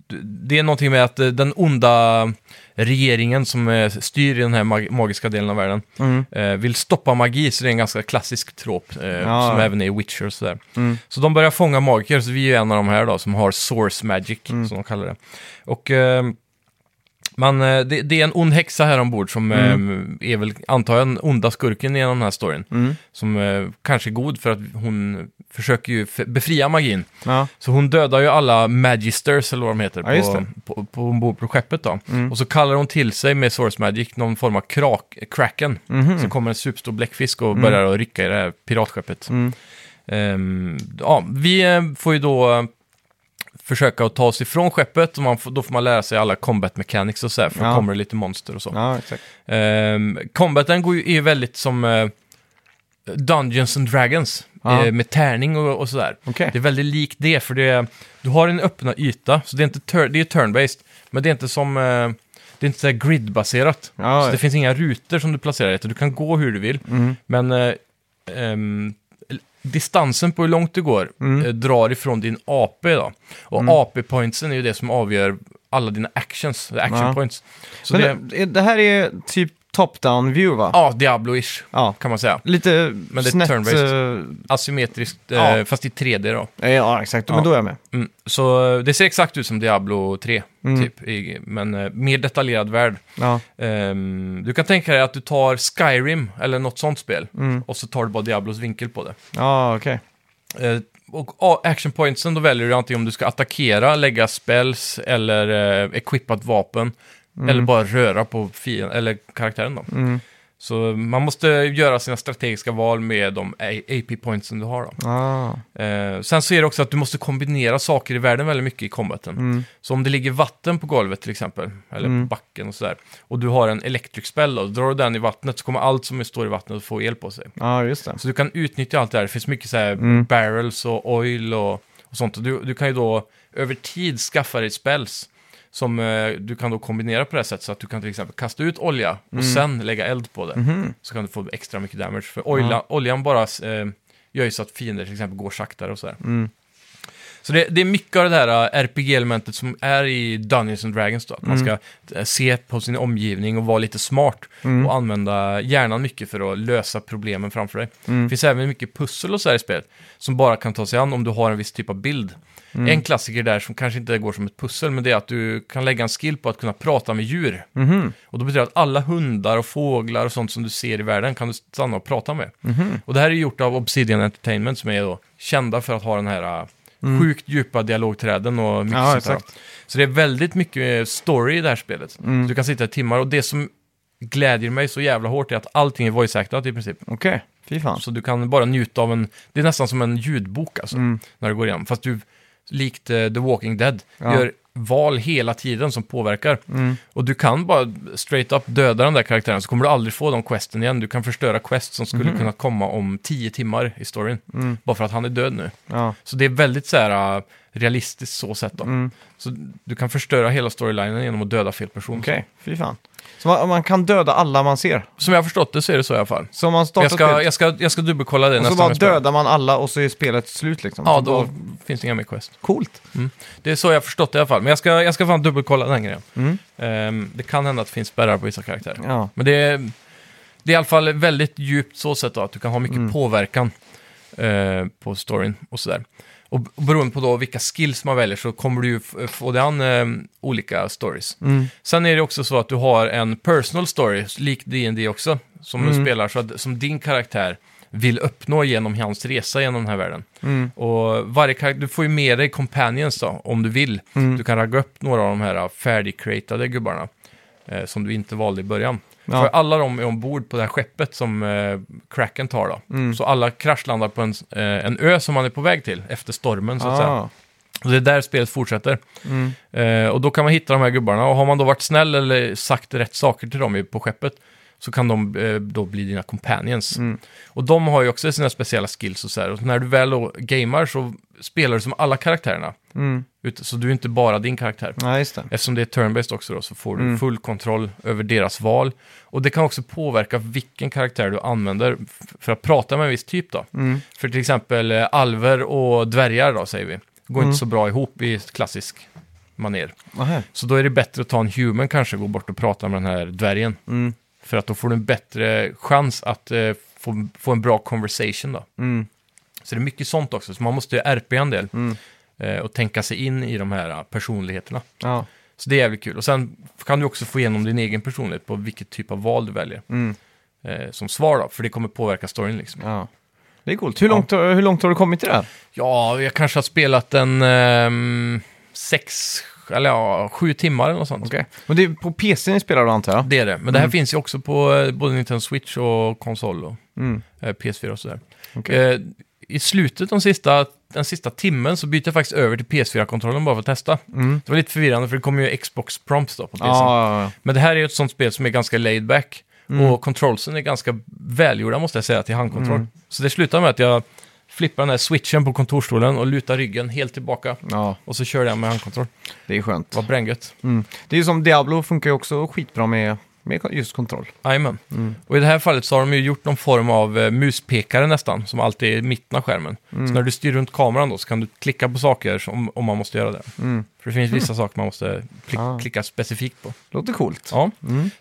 [SPEAKER 2] d- det är någonting med att eh, den onda regeringen som eh, styr i den här mag- magiska delen av världen
[SPEAKER 1] Mm.
[SPEAKER 2] eh, vill stoppa magi, så det är en ganska klassisk trop eh,
[SPEAKER 1] Ja.
[SPEAKER 2] som även är i Witcher och sådär.
[SPEAKER 1] Mm.
[SPEAKER 2] Så de börjar fånga magiker, så vi är ju en av de här då som har source magic,
[SPEAKER 1] Mm.
[SPEAKER 2] som de kallar det. Och eh, man, eh, det, det är en ond häxa här ombord som eh, är väl, antar jag, den onda skurken i den här storyn.
[SPEAKER 1] Mm.
[SPEAKER 2] Som eh, kanske är god för att hon försöker ju f- befria magin.
[SPEAKER 1] Ja.
[SPEAKER 2] Så hon dödar ju alla magisters, eller vad de heter,
[SPEAKER 1] Ja, just
[SPEAKER 2] på,
[SPEAKER 1] det. Mm.
[SPEAKER 2] på, på, ombord på skeppet då. Och så kallar hon till sig med Source Magic någon form av krak, kraken.
[SPEAKER 1] Mhm. Mm.
[SPEAKER 2] Så kommer en superstor bläckfisk och börjar att rycka i det här piratskeppet.
[SPEAKER 1] Mm.
[SPEAKER 2] Ehm, ja, vi eh, får ju då eh, försöka att ta oss ifrån skeppet och man får, då får man lära sig alla combat mechanics och så här, för då
[SPEAKER 1] Ja.
[SPEAKER 2] kommer det lite monster och så.
[SPEAKER 1] ja, exakt.
[SPEAKER 2] Um, combaten går ju, är ju väldigt som eh, Dungeons and Dragons.
[SPEAKER 1] Ja.
[SPEAKER 2] eh, Med tärning och, och sådär.
[SPEAKER 1] Okej.
[SPEAKER 2] Det är väldigt likt det, för det är, du har en öppna yta, så det är inte tur, det är turn-based, men det är inte som, eh, det är inte så här grid-baserat.
[SPEAKER 1] Ja,
[SPEAKER 2] så
[SPEAKER 1] ja.
[SPEAKER 2] det finns inga rutor som du placerar efter, du kan gå hur du vill,
[SPEAKER 1] Mm.
[SPEAKER 2] men eh, ehm, l- distansen på hur långt du går
[SPEAKER 1] Mm.
[SPEAKER 2] eh, drar ifrån din AP då. Och AP-pointsen är ju det som avgör alla dina actions, action
[SPEAKER 1] Ja.
[SPEAKER 2] points. Så
[SPEAKER 1] Men
[SPEAKER 2] det,
[SPEAKER 1] det... det här är typ top-down view va?
[SPEAKER 2] ja, Diablo-ish
[SPEAKER 1] Ja.
[SPEAKER 2] kan man säga.
[SPEAKER 1] Lite
[SPEAKER 2] det är
[SPEAKER 1] snett...
[SPEAKER 2] turn-based.
[SPEAKER 1] eh,
[SPEAKER 2] Asymmetriskt, eh,
[SPEAKER 1] Ja.
[SPEAKER 2] fast i 3D då.
[SPEAKER 1] Ja, eh, ja, exakt. Men
[SPEAKER 2] Ja.
[SPEAKER 1] då är jag med.
[SPEAKER 2] Mm. Så eh, det ser exakt ut som Diablo 3,
[SPEAKER 1] Mm.
[SPEAKER 2] typ. I, men eh, mer detaljerad värld.
[SPEAKER 1] Ja.
[SPEAKER 2] Ehm, du kan tänka dig att du tar Skyrim eller något sånt spel
[SPEAKER 1] Mm.
[SPEAKER 2] och så tar du bara Diablos vinkel på det.
[SPEAKER 1] Ja, okej.
[SPEAKER 2] Eh, och ah, action pointsen, då väljer du antingen om du ska attackera, lägga spells eller eh, equippat vapen. Eller bara röra på fienden, eller karaktären då.
[SPEAKER 1] Mm.
[SPEAKER 2] Så man måste göra sina strategiska val med de AP-pointsen du har då.
[SPEAKER 1] Ah.
[SPEAKER 2] Eh, sen så är det också att du måste kombinera saker i världen väldigt mycket i combaten.
[SPEAKER 1] Mm.
[SPEAKER 2] Så om det ligger vatten på golvet till exempel, eller på
[SPEAKER 1] Mm.
[SPEAKER 2] backen och sådär, och du har en electric spell då, drar du den i vattnet så kommer allt som står i vattnet att få el på sig.
[SPEAKER 1] Ja, just det.
[SPEAKER 2] Så du kan utnyttja allt det här. Det finns mycket så här
[SPEAKER 1] Mm.
[SPEAKER 2] barrels och oil och, och sånt. Och Du, du kan ju då över tid skaffa dig spells som eh, du kan då kombinera på det här sättet så att du kan till exempel kasta ut olja och
[SPEAKER 1] Mm.
[SPEAKER 2] sen lägga eld på det.
[SPEAKER 1] Mhm.
[SPEAKER 2] Så kan du få extra mycket damage. För olja, oljan bara eh, gör ju så att fiender till exempel går saktare och sådär.
[SPEAKER 1] Mm.
[SPEAKER 2] Så det, det är mycket av det här eh, RPG-elementet som är i Dungeons and Dragons då. Att man ska eh, se på sin omgivning och vara lite smart. Och använda hjärnan mycket för att lösa problemen framför dig. Det finns även mycket pussel och så här i spelet. Som bara kan ta sig an om du har en viss typ av bild. En klassiker där som kanske inte går som ett pussel, men det är att du kan lägga en skill på att kunna prata med djur.
[SPEAKER 1] Mhm.
[SPEAKER 2] Och då betyder det att alla hundar och fåglar och sånt som du ser i världen kan du stanna och prata med. Och det här är gjort av Obsidian Entertainment som är då kända för att ha den här äh, sjukt djupa dialogträden och mycket
[SPEAKER 1] Mm. Ja,
[SPEAKER 2] sånt där.
[SPEAKER 1] exakt. Mm.
[SPEAKER 2] Så det är väldigt mycket eh, story i det här spelet. Så du kan sitta i timmar och det som glädjer mig så jävla hårt är att allting är voice-actat i princip.
[SPEAKER 1] Okej. Fy fan.
[SPEAKER 2] Så du kan bara njuta av en, det är nästan som en ljudbok alltså,
[SPEAKER 1] Mm.
[SPEAKER 2] när du går igenom. Fast du, likt eh, The Walking Dead,
[SPEAKER 1] Ja. Mm.
[SPEAKER 2] gör val hela tiden som påverkar. Och du kan bara straight up döda den där karaktären så kommer du aldrig få de questen igen. Du kan förstöra quest som
[SPEAKER 1] Mm.
[SPEAKER 2] skulle kunna komma om tio timmar i storyn. Bara för att han är död nu.
[SPEAKER 1] Ja.
[SPEAKER 2] Så det är väldigt så här eh, realistiskt så sett då.
[SPEAKER 1] Mm.
[SPEAKER 2] Så du kan förstöra hela storylinen genom att döda fel person.
[SPEAKER 1] Okej. Fy fan. Så man, man kan döda alla man ser.
[SPEAKER 2] Som jag har förstått det så är det så i alla fall.
[SPEAKER 1] Så om man startar
[SPEAKER 2] Jag ska,
[SPEAKER 1] spelet
[SPEAKER 2] jag, ska, jag ska dubbelkolla det
[SPEAKER 1] och så
[SPEAKER 2] nästa
[SPEAKER 1] bara
[SPEAKER 2] jag spelar.
[SPEAKER 1] dödar man alla och så är spelet slut liksom.
[SPEAKER 2] Ja,
[SPEAKER 1] Så
[SPEAKER 2] då finns det inga mer quest.
[SPEAKER 1] Coolt.
[SPEAKER 2] Det är så jag har förstått det i alla fall. Men jag ska, jag ska fan dubbelkolla den grejen.
[SPEAKER 1] Mm.
[SPEAKER 2] Ehm, det kan hända att det finns spärrar på vissa karaktärer.
[SPEAKER 1] Ja.
[SPEAKER 2] Men det är, det är i alla fall väldigt djupt så sätt då, att du kan ha mycket
[SPEAKER 1] Mm.
[SPEAKER 2] påverkan eh, på storyn och sådär. Och b- beroende på då vilka skills man väljer så kommer du ju f- få det an eh,
[SPEAKER 1] Mm.
[SPEAKER 2] olika stories. Sen är det också så att du har en personal story, likt D&D också, som
[SPEAKER 1] Mm.
[SPEAKER 2] du spelar, så att, som din karaktär vill uppnå genom hans resa genom den här världen.
[SPEAKER 1] Mm.
[SPEAKER 2] Och varje karaktär, du får ju med dig companions då, om du vill.
[SPEAKER 1] Mm.
[SPEAKER 2] Du kan ragga upp några av de här färdigcreatade gubbarna eh, som du inte valde i början.
[SPEAKER 1] Ja.
[SPEAKER 2] För alla de är ombord på det här skeppet som eh, Kraken tar då.
[SPEAKER 1] Mm.
[SPEAKER 2] Så alla kraschlandar på en, s- eh, en ö som man är på väg till efter stormen så att säga.
[SPEAKER 1] Ah. Mm.
[SPEAKER 2] Och det är där spelet fortsätter. Eh, och då kan man hitta de här gubbarna. Och har man då varit snäll eller sagt rätt saker till dem i- på skeppet så kan de eh, då bli dina companions. Och de har ju också sina speciella skills och så här. Och när du väl då gamer så spelar du som alla karaktärerna.
[SPEAKER 1] Mm.
[SPEAKER 2] Ut- Så du är inte bara din karaktär.
[SPEAKER 1] Nej, just det.
[SPEAKER 2] Eftersom det är turn-based också då, så får du full kontroll över deras val. Och det kan också påverka vilken karaktär du använder f- för att prata med en viss typ då.
[SPEAKER 1] Mm.
[SPEAKER 2] För till exempel eh, alver och dvärgar då, säger vi, går inte så bra ihop i klassisk maner.
[SPEAKER 1] Aha.
[SPEAKER 2] Så då är det bättre att ta en human kanske, gå bort och prata med den här dvärgen.
[SPEAKER 1] Mm.
[SPEAKER 2] För att då får du en bättre chans att eh, få, få en bra conversation då.
[SPEAKER 1] Mm.
[SPEAKER 2] Så det är mycket sånt också, så man måste RP en del. eh, Och tänka sig in i de här eh, personligheterna.
[SPEAKER 1] Ja.
[SPEAKER 2] Så det är jävligt kul. Och sen kan du också få igenom din egen personlighet på vilket typ av val du väljer.
[SPEAKER 1] Mm.
[SPEAKER 2] Eh, som svar då, för det kommer påverka storyn liksom.
[SPEAKER 1] ja. Det är coolt. Hur, långt, hur långt har du kommit i det här?
[SPEAKER 2] Ja, jag kanske har spelat en ehm, sex, eller ja, sju timmar eller något sånt.
[SPEAKER 1] Okej. Men det är på PC ni spelar då, antar jag?
[SPEAKER 2] Det är det, men
[SPEAKER 1] Mm.
[SPEAKER 2] det här finns ju också på eh, både Nintendo Switch och konsol och
[SPEAKER 1] Mm.
[SPEAKER 2] eh, PS4 och sådär.
[SPEAKER 1] Okej.
[SPEAKER 2] Eh, I slutet, de sista, den sista timmen, så byter jag faktiskt över till PS4-kontrollen bara för att testa. Det var lite förvirrande, för det kommer ju Xbox Prompts då på PC.
[SPEAKER 1] Mm. Ja, Mm. ja, ja.
[SPEAKER 2] Men det här är ju ett sånt spel som är ganska laid back. Och controlsen är ganska välgjorda måste jag säga till handkontroll.
[SPEAKER 1] Mm.
[SPEAKER 2] Så det slutar med att jag flippar den här switchen på kontorstolen och lutar ryggen helt tillbaka.
[SPEAKER 1] ja,
[SPEAKER 2] Och så kör jag med handkontroll.
[SPEAKER 1] det är skönt.
[SPEAKER 2] Vad bränngött.
[SPEAKER 1] Mm. Det är ju som Diablo funkar ju också skitbra med, med just kontroll.
[SPEAKER 2] Jajamän. Och i det här fallet så har de ju gjort någon form av eh, muspekare nästan, som alltid är i mitten av skärmen. Så när du styr runt kameran då så kan du klicka på saker som, om man måste göra det. För det finns vissa saker man måste pli-
[SPEAKER 1] Ah.
[SPEAKER 2] klicka specifikt på.
[SPEAKER 1] Låter coolt.
[SPEAKER 2] Ja.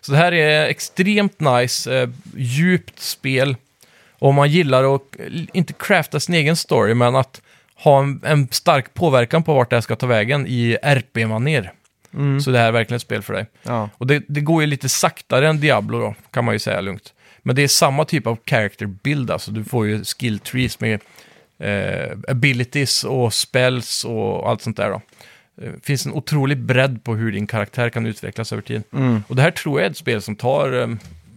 [SPEAKER 2] Så det här är extremt nice, eh, djupt spel. Och om man gillar att, eh, inte crafta sin egen story, men att ha en, en stark påverkan på vart det här ska ta vägen i RP-maner. Så det här är verkligen ett spel för dig.
[SPEAKER 1] Ja.
[SPEAKER 2] Och det, det går ju lite saktare än Diablo då, kan man ju säga lugnt. Men det är samma typ av character build, alltså du får ju skill trees med eh, abilities och spells och allt sånt där då. Det finns en otrolig bredd på hur din karaktär kan utvecklas över tid.
[SPEAKER 1] Mm.
[SPEAKER 2] Och det här tror jag är ett spel som tar eh,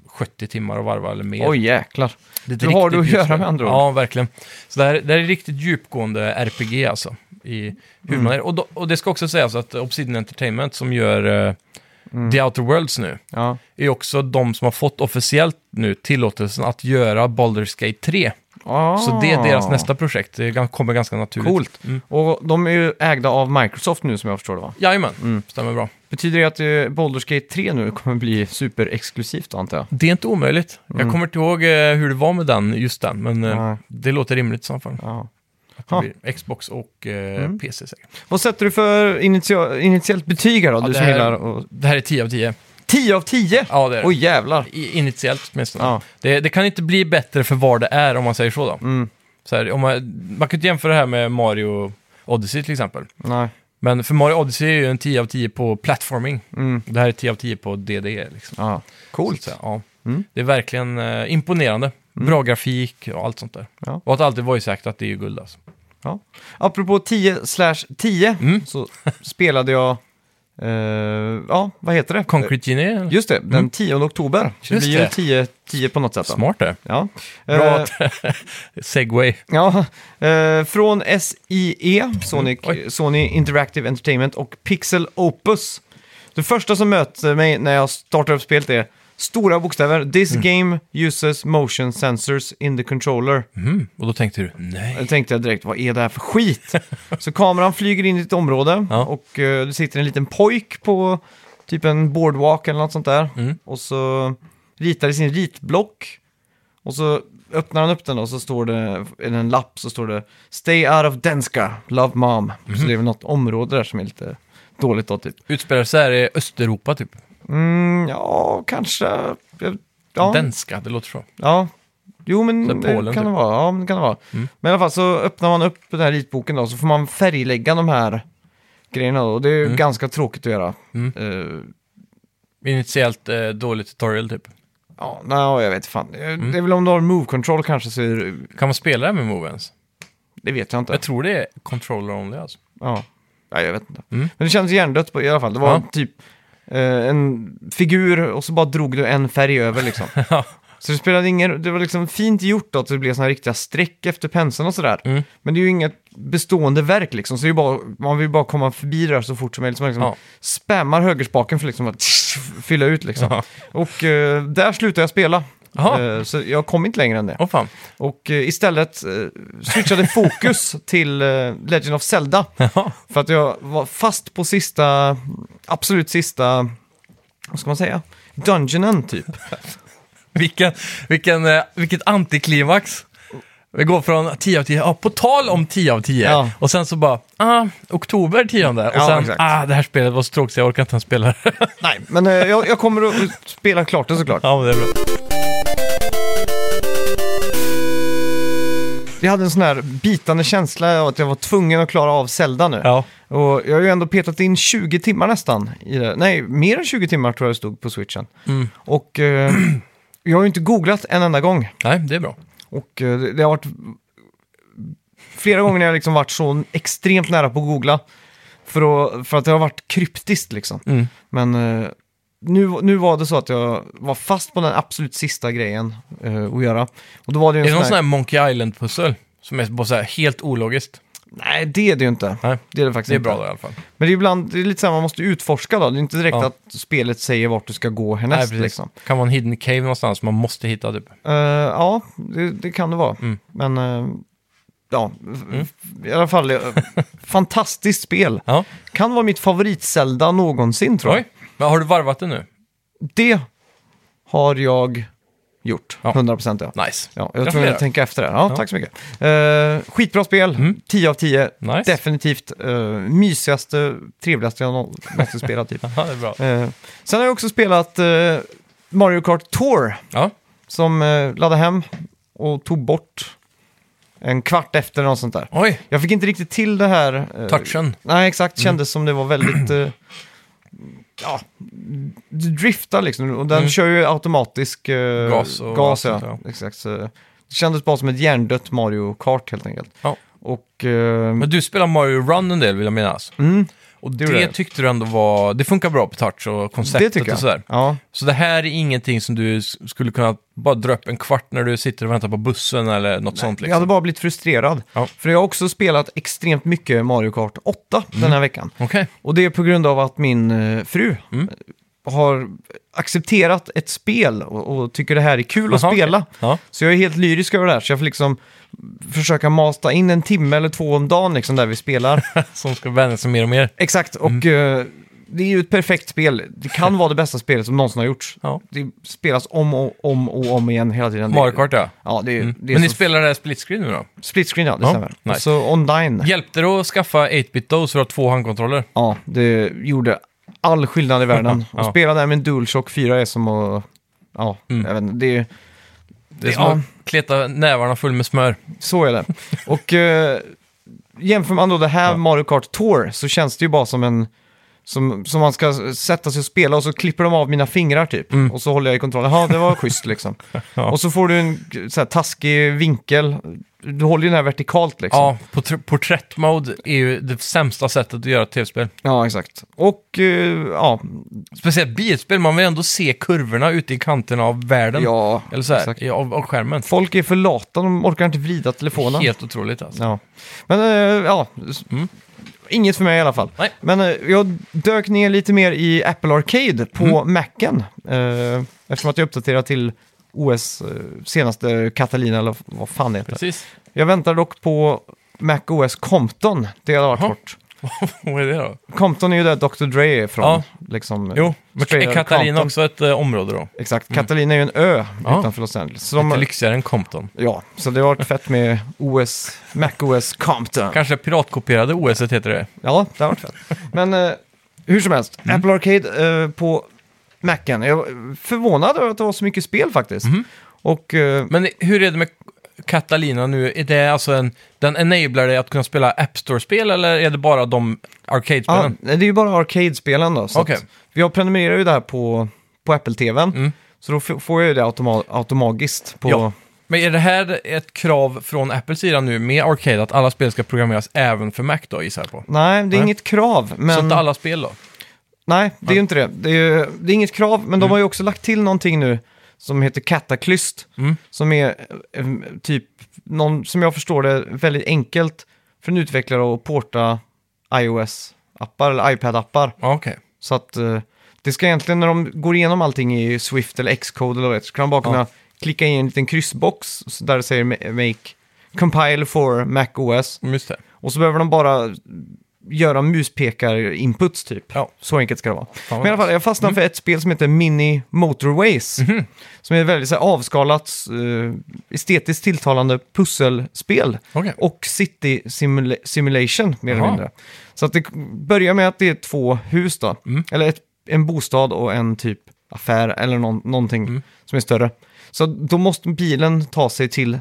[SPEAKER 2] 70 timmar att varva eller mer.
[SPEAKER 1] Oj, jäklar.
[SPEAKER 2] det är ett
[SPEAKER 1] då har
[SPEAKER 2] riktigt
[SPEAKER 1] du att göra
[SPEAKER 2] djupspel.
[SPEAKER 1] med andra ord.
[SPEAKER 2] Ja, verkligen. Så det här, det här är riktigt djupgående RPG alltså. I hur
[SPEAKER 1] Mm.
[SPEAKER 2] man är. Och, då, och det ska också sägas att Obsidian Entertainment som gör eh,
[SPEAKER 1] Mm.
[SPEAKER 2] The Outer Worlds nu,
[SPEAKER 1] Ja.
[SPEAKER 2] är också de som har fått officiellt nu tillåtelsen att göra Baldur's Gate 3.
[SPEAKER 1] Ah.
[SPEAKER 2] Så det är deras nästa projekt. Det gan- kommer ganska naturligt.
[SPEAKER 1] Coolt.
[SPEAKER 2] Mm.
[SPEAKER 1] Och de är ju ägda av Microsoft nu som jag förstår det va?
[SPEAKER 2] Jajamän,
[SPEAKER 1] Mm.
[SPEAKER 2] stämmer bra.
[SPEAKER 1] Betyder det att eh, Baldur's Gate 3 nu kommer bli superexklusivt då, antar jag?
[SPEAKER 2] Det är inte omöjligt.
[SPEAKER 1] Mm.
[SPEAKER 2] Jag kommer inte ihåg eh, hur det var med den, just den, men eh,
[SPEAKER 1] Nej.
[SPEAKER 2] det låter rimligt i så fall.
[SPEAKER 1] Ja.
[SPEAKER 2] Att
[SPEAKER 1] Ah.
[SPEAKER 2] det
[SPEAKER 1] Ha. Mm.
[SPEAKER 2] blir Xbox och eh, PC säkert.
[SPEAKER 1] Vad sätter du för initia- initiellt betyg här då? du
[SPEAKER 2] det
[SPEAKER 1] som
[SPEAKER 2] här-
[SPEAKER 1] gillar och...
[SPEAKER 2] Det här är 10 av 10.
[SPEAKER 1] 10 av 10?
[SPEAKER 2] Ja, det är det.
[SPEAKER 1] Oj jävlar.
[SPEAKER 2] I- Initiellt åtminstone.
[SPEAKER 1] Ja.
[SPEAKER 2] Det, det kan inte bli bättre för vad det är om man säger så då.
[SPEAKER 1] Mm.
[SPEAKER 2] Så här, om man, man kan inte jämföra det här med Mario Odyssey till exempel.
[SPEAKER 1] Nej.
[SPEAKER 2] Men för Mario Odyssey är ju en 10 av 10 på platforming.
[SPEAKER 1] Mm.
[SPEAKER 2] Det här är 10 av 10 på DDE. Liksom.
[SPEAKER 1] Ja. Coolt.
[SPEAKER 2] Så att säga, ja.
[SPEAKER 1] Mm.
[SPEAKER 2] Det är verkligen eh, imponerande. Bra grafik och allt sånt där.
[SPEAKER 1] Ja.
[SPEAKER 2] Och att alltid voice actat, det är ju guld alltså.
[SPEAKER 1] Ja. Apropå 10 slash 10
[SPEAKER 2] Mm.
[SPEAKER 1] så spelade jag, eh, ja vad heter det?
[SPEAKER 2] Concrete Genie, eller?
[SPEAKER 1] Eh, Just det, den 10 oktober. Så det
[SPEAKER 2] Mm. Just
[SPEAKER 1] blir ju
[SPEAKER 2] det.
[SPEAKER 1] 10, 10 på något sätt. Då.
[SPEAKER 2] smart det.
[SPEAKER 1] Ja.
[SPEAKER 2] Bra
[SPEAKER 1] Eh,
[SPEAKER 2] att... Segway.
[SPEAKER 1] ja. Eh, från SIE, Sonic,
[SPEAKER 2] Mm,
[SPEAKER 1] Sony Interactive Entertainment och Pixel Opus. Det första som möter mig när jag startar upp spelet är stora bokstäver. This
[SPEAKER 2] Mm.
[SPEAKER 1] game uses motion sensors in the controller.
[SPEAKER 2] Mhm. Och då tänkte du, nej.
[SPEAKER 1] Då tänkte jag direkt, vad är det här för skit? Så kameran flyger in i ett område
[SPEAKER 2] Ja.
[SPEAKER 1] och eh, det sitter en liten pojk på typ en boardwalk eller något sånt där.
[SPEAKER 2] Mm.
[SPEAKER 1] Och så ritar i sin ritblock. Och så öppnar han upp den och så står det, i en lapp så står det Stay out of Denska, love mom. Så
[SPEAKER 2] Mhm.
[SPEAKER 1] det är väl något område där som är lite dåligt då typ.
[SPEAKER 2] Utspelar sig här i Östeuropa typ.
[SPEAKER 1] Mm, ja, kanske. Jag- Ja,
[SPEAKER 2] Denska, det låter så.
[SPEAKER 1] Ja. Jo, men
[SPEAKER 2] Så
[SPEAKER 1] det
[SPEAKER 2] här Polen,
[SPEAKER 1] kan
[SPEAKER 2] typ. Mm.
[SPEAKER 1] det vara. Ja, men det kan det vara. Men i alla fall så öppnar man upp den här ritboken då, så får man färglägga de här grejerna då. Och det är ju ganska tråkigt att göra.
[SPEAKER 2] Mm.
[SPEAKER 1] Eh,
[SPEAKER 2] Initiellt eh, dålig tutorial typ.
[SPEAKER 1] Ja, nej, jag vet fan. Eh,
[SPEAKER 2] Mm.
[SPEAKER 1] Det är väl om du har move control kanske så är det,
[SPEAKER 2] Kan man spela det här med Move ens?
[SPEAKER 1] det vet jag inte.
[SPEAKER 2] Jag tror det är controller only alltså.
[SPEAKER 1] Ja. Nej, jag vet inte.
[SPEAKER 2] Mm.
[SPEAKER 1] Men det kändes hjärndött på, i alla fall. Det var
[SPEAKER 2] Ja.
[SPEAKER 1] typ eh, en figur och så bara drog du en färg över liksom.
[SPEAKER 2] Ja.
[SPEAKER 1] så det spelade ingen Det var liksom fint gjort då, att det blev såna här riktiga streck efter penseln och sådär.
[SPEAKER 2] Mm.
[SPEAKER 1] Men det är ju inget bestående verk liksom, så det är ju bara, man vill ju bara komma förbi det här så fort som möjligt. Så man liksom
[SPEAKER 2] Ja.
[SPEAKER 1] spammar högerspaken för liksom att fylla ut liksom.
[SPEAKER 2] Ja.
[SPEAKER 1] Och eh, där slutade jag spela.
[SPEAKER 2] Jaha.
[SPEAKER 1] Eh, så jag kom inte längre än det.
[SPEAKER 2] Åh fan.
[SPEAKER 1] Och eh, istället eh, switchade fokus till eh, Legend of Zelda.
[SPEAKER 2] Jaha.
[SPEAKER 1] För att jag var fast på sista, absolut sista, vad ska man säga? Dungeonen typ.
[SPEAKER 2] Vilken, vilken, eh, vilket antiklimax. Vi går från 10 av 10, ja, på tal om 10 av 10,
[SPEAKER 1] Ja.
[SPEAKER 2] och sen så bara, ah, oktober 10, och
[SPEAKER 1] Ja,
[SPEAKER 2] sen,
[SPEAKER 1] exakt.
[SPEAKER 2] ah, det här spelet var så tråkigt, jag orkar inte ens spela det.
[SPEAKER 1] Nej, men eh, jag, jag kommer att spela klart det såklart.
[SPEAKER 2] ja, men det är bra.
[SPEAKER 1] Jag hade en sån här bitande känsla av att jag var tvungen att klara av Zelda nu.
[SPEAKER 2] Ja,
[SPEAKER 1] Och jag har ju ändå petat in 20 timmar nästan. I det. Nej, mer än 20 timmar tror jag det stod på switchen.
[SPEAKER 2] Mm.
[SPEAKER 1] Och eh, jag har ju inte googlat en enda gång.
[SPEAKER 2] nej, det är bra.
[SPEAKER 1] Och eh, det det har varit flera gånger när jag liksom varit så extremt nära på att googla. För, att, för att det har varit kryptiskt liksom.
[SPEAKER 2] Mm.
[SPEAKER 1] Men eh, nu, nu var det så att jag var fast på den absolut sista grejen eh, att göra. Och då var det ju
[SPEAKER 2] Är
[SPEAKER 1] en
[SPEAKER 2] det någon
[SPEAKER 1] sån
[SPEAKER 2] sån
[SPEAKER 1] här...
[SPEAKER 2] här Monkey Island-pussel? Som är bara så här helt ologiskt.
[SPEAKER 1] Nej, det är det ju inte.
[SPEAKER 2] Nej,
[SPEAKER 1] Det är det faktiskt
[SPEAKER 2] det är bra
[SPEAKER 1] inte.
[SPEAKER 2] då i alla fall.
[SPEAKER 1] Men det är ibland det är lite så här, man måste utforska då. Det är inte direkt
[SPEAKER 2] Ja.
[SPEAKER 1] att spelet säger vart du ska gå
[SPEAKER 2] Nej,
[SPEAKER 1] härnäst
[SPEAKER 2] precis.
[SPEAKER 1] liksom.
[SPEAKER 2] Kan vara en hidden cave någonstans man måste hitta typ.
[SPEAKER 1] Eh, ja, det, det kan det vara.
[SPEAKER 2] Mm.
[SPEAKER 1] Men eh, ja, i alla fall eh, fantastiskt spel.
[SPEAKER 2] Ja,
[SPEAKER 1] Kan vara mitt favorit-Zelda någonsin tror jag.
[SPEAKER 2] oj. Men har du varvat det nu?
[SPEAKER 1] Det har jag gjort,
[SPEAKER 2] Ja.
[SPEAKER 1] 100% ja.
[SPEAKER 2] Nice.
[SPEAKER 1] Ja, jag tror
[SPEAKER 2] Gratulerar.
[SPEAKER 1] jag tänker efter det. Ja,
[SPEAKER 2] Ja. Mm.
[SPEAKER 1] Tack så mycket. Eh, skitbra spel, 10 av 10.
[SPEAKER 2] Nice.
[SPEAKER 1] Definitivt uh, mysigaste, trevligaste jag någonsin spelat. Typ.
[SPEAKER 2] Ja, det är bra.
[SPEAKER 1] Eh, sen har jag också spelat eh, Mario Kart Tour
[SPEAKER 2] Ja,
[SPEAKER 1] som eh, laddade hem och tog bort en kvart efter något sånt där.
[SPEAKER 2] oj.
[SPEAKER 1] Jag fick inte riktigt till det här. eh,
[SPEAKER 2] Touchen.
[SPEAKER 1] Nej,
[SPEAKER 2] Mm.
[SPEAKER 1] exakt. Kändes som det var väldigt... eh, ja, du driftar liksom. Och den
[SPEAKER 2] Mm.
[SPEAKER 1] kör ju automatisk eh,
[SPEAKER 2] Gas och allt
[SPEAKER 1] gas ja.
[SPEAKER 2] sånt, ja.
[SPEAKER 1] Exakt. Så det kändes bara som ett hjärndött Mario Kart helt enkelt.
[SPEAKER 2] Ja.
[SPEAKER 1] Och... eh,
[SPEAKER 2] Men du spelar Mario Run en del vill jag minnas.
[SPEAKER 1] mm,
[SPEAKER 2] Och
[SPEAKER 1] Det
[SPEAKER 2] det,
[SPEAKER 1] gjorde jag.
[SPEAKER 2] tyckte du ändå var... Det funkar bra på touch och
[SPEAKER 1] det
[SPEAKER 2] konceptet
[SPEAKER 1] tycker
[SPEAKER 2] och
[SPEAKER 1] jag.
[SPEAKER 2] sådär.
[SPEAKER 1] Ja.
[SPEAKER 2] Så det här är ingenting som du s- skulle kunna bara dra upp en kvart när du sitter och väntar på bussen eller något sånt
[SPEAKER 1] Jag hade
[SPEAKER 2] liksom?
[SPEAKER 1] bara blivit frustrerad.
[SPEAKER 2] Ja.
[SPEAKER 1] För jag har också spelat extremt mycket Mario Kart 8
[SPEAKER 2] Mm.
[SPEAKER 1] den här veckan.
[SPEAKER 2] Okej.
[SPEAKER 1] Och det är på grund av att min eh, fru
[SPEAKER 2] Mm.
[SPEAKER 1] har accepterat ett spel och, och tycker det här är kul att
[SPEAKER 2] Jaha, okej.
[SPEAKER 1] spela.
[SPEAKER 2] Ja.
[SPEAKER 1] Så jag är helt lyrisk över det här, så jag får liksom försöka mata in en timme eller två om dagen liksom, där vi
[SPEAKER 2] Mm.
[SPEAKER 1] spelar.
[SPEAKER 2] Som ska vänja sig mer och mer.
[SPEAKER 1] Exakt, och eh, det är ju ett perfekt spel. Det kan vara det bästa spelet som någonsin har gjorts.
[SPEAKER 2] Ja.
[SPEAKER 1] Det spelas om och om och om igen hela tiden.
[SPEAKER 2] Mario Kart ja.
[SPEAKER 1] Ja, det är,
[SPEAKER 2] Mm.
[SPEAKER 1] det är
[SPEAKER 2] Men ni
[SPEAKER 1] så-
[SPEAKER 2] spelar det här split screen nu då?
[SPEAKER 1] split screen, ja, det
[SPEAKER 2] Ja,
[SPEAKER 1] stämmer.
[SPEAKER 2] nice.
[SPEAKER 1] Och så online.
[SPEAKER 2] Hjälpte det att skaffa 8-bit dos för att ha två handkontroller?
[SPEAKER 1] Ja, det gjorde all skillnad i världen.
[SPEAKER 2] Ja.
[SPEAKER 1] Att spela där med en DualShock 4 är som att... Ja,
[SPEAKER 2] Mm.
[SPEAKER 1] jag vet inte. Det är,
[SPEAKER 2] Det är som
[SPEAKER 1] Ja.
[SPEAKER 2] att kleta nävarna full med smör. liksom.
[SPEAKER 1] så är det. Och eh, jämför man då det här med Mario Kart Tour så känns det ju bara som en... Som, som man ska sätta sig och spela och så klipper de av mina fingrar typ.
[SPEAKER 2] Mm.
[SPEAKER 1] Och så håller jag i kontrollen. Ja, det var schysst liksom.
[SPEAKER 2] Ja.
[SPEAKER 1] Och så får du en så här, taskig vinkel. Du håller ju den här vertikalt liksom.
[SPEAKER 2] Ja, portr- porträttmode är ju det sämsta sättet att göra ett tv-spel.
[SPEAKER 1] ja exakt. Och eh, ja,
[SPEAKER 2] Speciellt bilspel, man vill ändå se kurvorna ute i kanterna av världen.
[SPEAKER 1] ja,
[SPEAKER 2] Eller så här,
[SPEAKER 1] exakt.
[SPEAKER 2] i- av, av skärmen.
[SPEAKER 1] Folk är för lata, de orkar inte vrida telefonen.
[SPEAKER 2] Helt otroligt alltså.
[SPEAKER 1] Ja. Men eh, ja, s-
[SPEAKER 2] Mm.
[SPEAKER 1] inget för mig i alla fall.
[SPEAKER 2] Nej.
[SPEAKER 1] Men eh, jag dök ner lite mer i Apple Arcade på
[SPEAKER 2] Mm.
[SPEAKER 1] Macen. Eh, eftersom att jag uppdaterade till OS eh, senaste Catalina eller vad fan det heter.
[SPEAKER 2] Precis.
[SPEAKER 1] Jag väntar dock på Mac OS Compton. Det hade varit
[SPEAKER 2] Jaha.
[SPEAKER 1] kort.
[SPEAKER 2] Vad är det då?
[SPEAKER 1] Compton är ju där Dr. Dre är ifrån.
[SPEAKER 2] Ja.
[SPEAKER 1] Liksom,
[SPEAKER 2] Jo, men
[SPEAKER 1] Straight
[SPEAKER 2] är
[SPEAKER 1] Outta
[SPEAKER 2] Katarina
[SPEAKER 1] Compton.
[SPEAKER 2] också ett eh, område då?
[SPEAKER 1] Exakt, Catalina är ju en ö
[SPEAKER 2] Ja.
[SPEAKER 1] utanför Los Angeles. Så
[SPEAKER 2] Lite
[SPEAKER 1] de,
[SPEAKER 2] lyxigare än Compton.
[SPEAKER 1] ja, så det har varit fett med OS, Mac OS Compton.
[SPEAKER 2] Kanske piratkopierade OS et heter det.
[SPEAKER 1] Ja, det har varit fett. Men eh, hur som helst,
[SPEAKER 2] Mm.
[SPEAKER 1] Apple Arcade eh, på Macen. Jag var förvånad över att det var så mycket spel faktiskt.
[SPEAKER 2] Mm-hmm.
[SPEAKER 1] Och eh,
[SPEAKER 2] Men hur är det med Catalina nu? Är det alltså en, den enablar dig att kunna spela App Store-spel eller är det bara de
[SPEAKER 1] ja,
[SPEAKER 2] arcade-spelen?
[SPEAKER 1] det är ju bara arcade-spelen då. Så
[SPEAKER 2] Okej.
[SPEAKER 1] att, jag prenumererar ju det här på, på Apple-TVn.
[SPEAKER 2] Mm.
[SPEAKER 1] Så då f- får jag ju det automa- automatiskt på...
[SPEAKER 2] Ja. Men är det här ett krav från Apples sida nu med Arcade att alla spel ska programmeras även för Mac då, gissar jag på?
[SPEAKER 1] Nej, det är
[SPEAKER 2] Nej.
[SPEAKER 1] inget krav. Men...
[SPEAKER 2] Så inte alla spel då?
[SPEAKER 1] Nej, det är ju inte det. Det är, ju, det är inget krav, men
[SPEAKER 2] Mm.
[SPEAKER 1] de har ju också lagt till någonting nu som heter Cataclyst.
[SPEAKER 2] Mm.
[SPEAKER 1] Som är eh, eh, typ, någon, som jag förstår det, väldigt enkelt för en utvecklare att porta iOS-appar eller iPad-appar.
[SPEAKER 2] Ja, okej.
[SPEAKER 1] Så att eh, det ska egentligen, när de går igenom allting i Swift eller Xcode eller vad det heter, så kan de bara kunna
[SPEAKER 2] Ja.
[SPEAKER 1] klicka in en liten kryssbox så där det säger ma- make compile for Mac OS.
[SPEAKER 2] Just det.
[SPEAKER 1] Och så behöver de bara göra muspekar-inputs typ.
[SPEAKER 2] Ja.
[SPEAKER 1] Så enkelt ska det vara.
[SPEAKER 2] Fan vad Mm.
[SPEAKER 1] Men i alla fall, jag fastnade för ett spel som heter Mini Motorways.
[SPEAKER 2] Mhm.
[SPEAKER 1] Som är ett väldigt så här, avskalat, eh, estetiskt tilltalande pusselspel.
[SPEAKER 2] Okej.
[SPEAKER 1] Och city simula- simulation, mer eller
[SPEAKER 2] Jaha.
[SPEAKER 1] mindre. Så att det k- börjar med att det är två hus då.
[SPEAKER 2] Mm.
[SPEAKER 1] Eller ett, en bostad och en typ affär eller någon, någonting
[SPEAKER 2] Mm.
[SPEAKER 1] som är större. Så då måste bilen ta sig till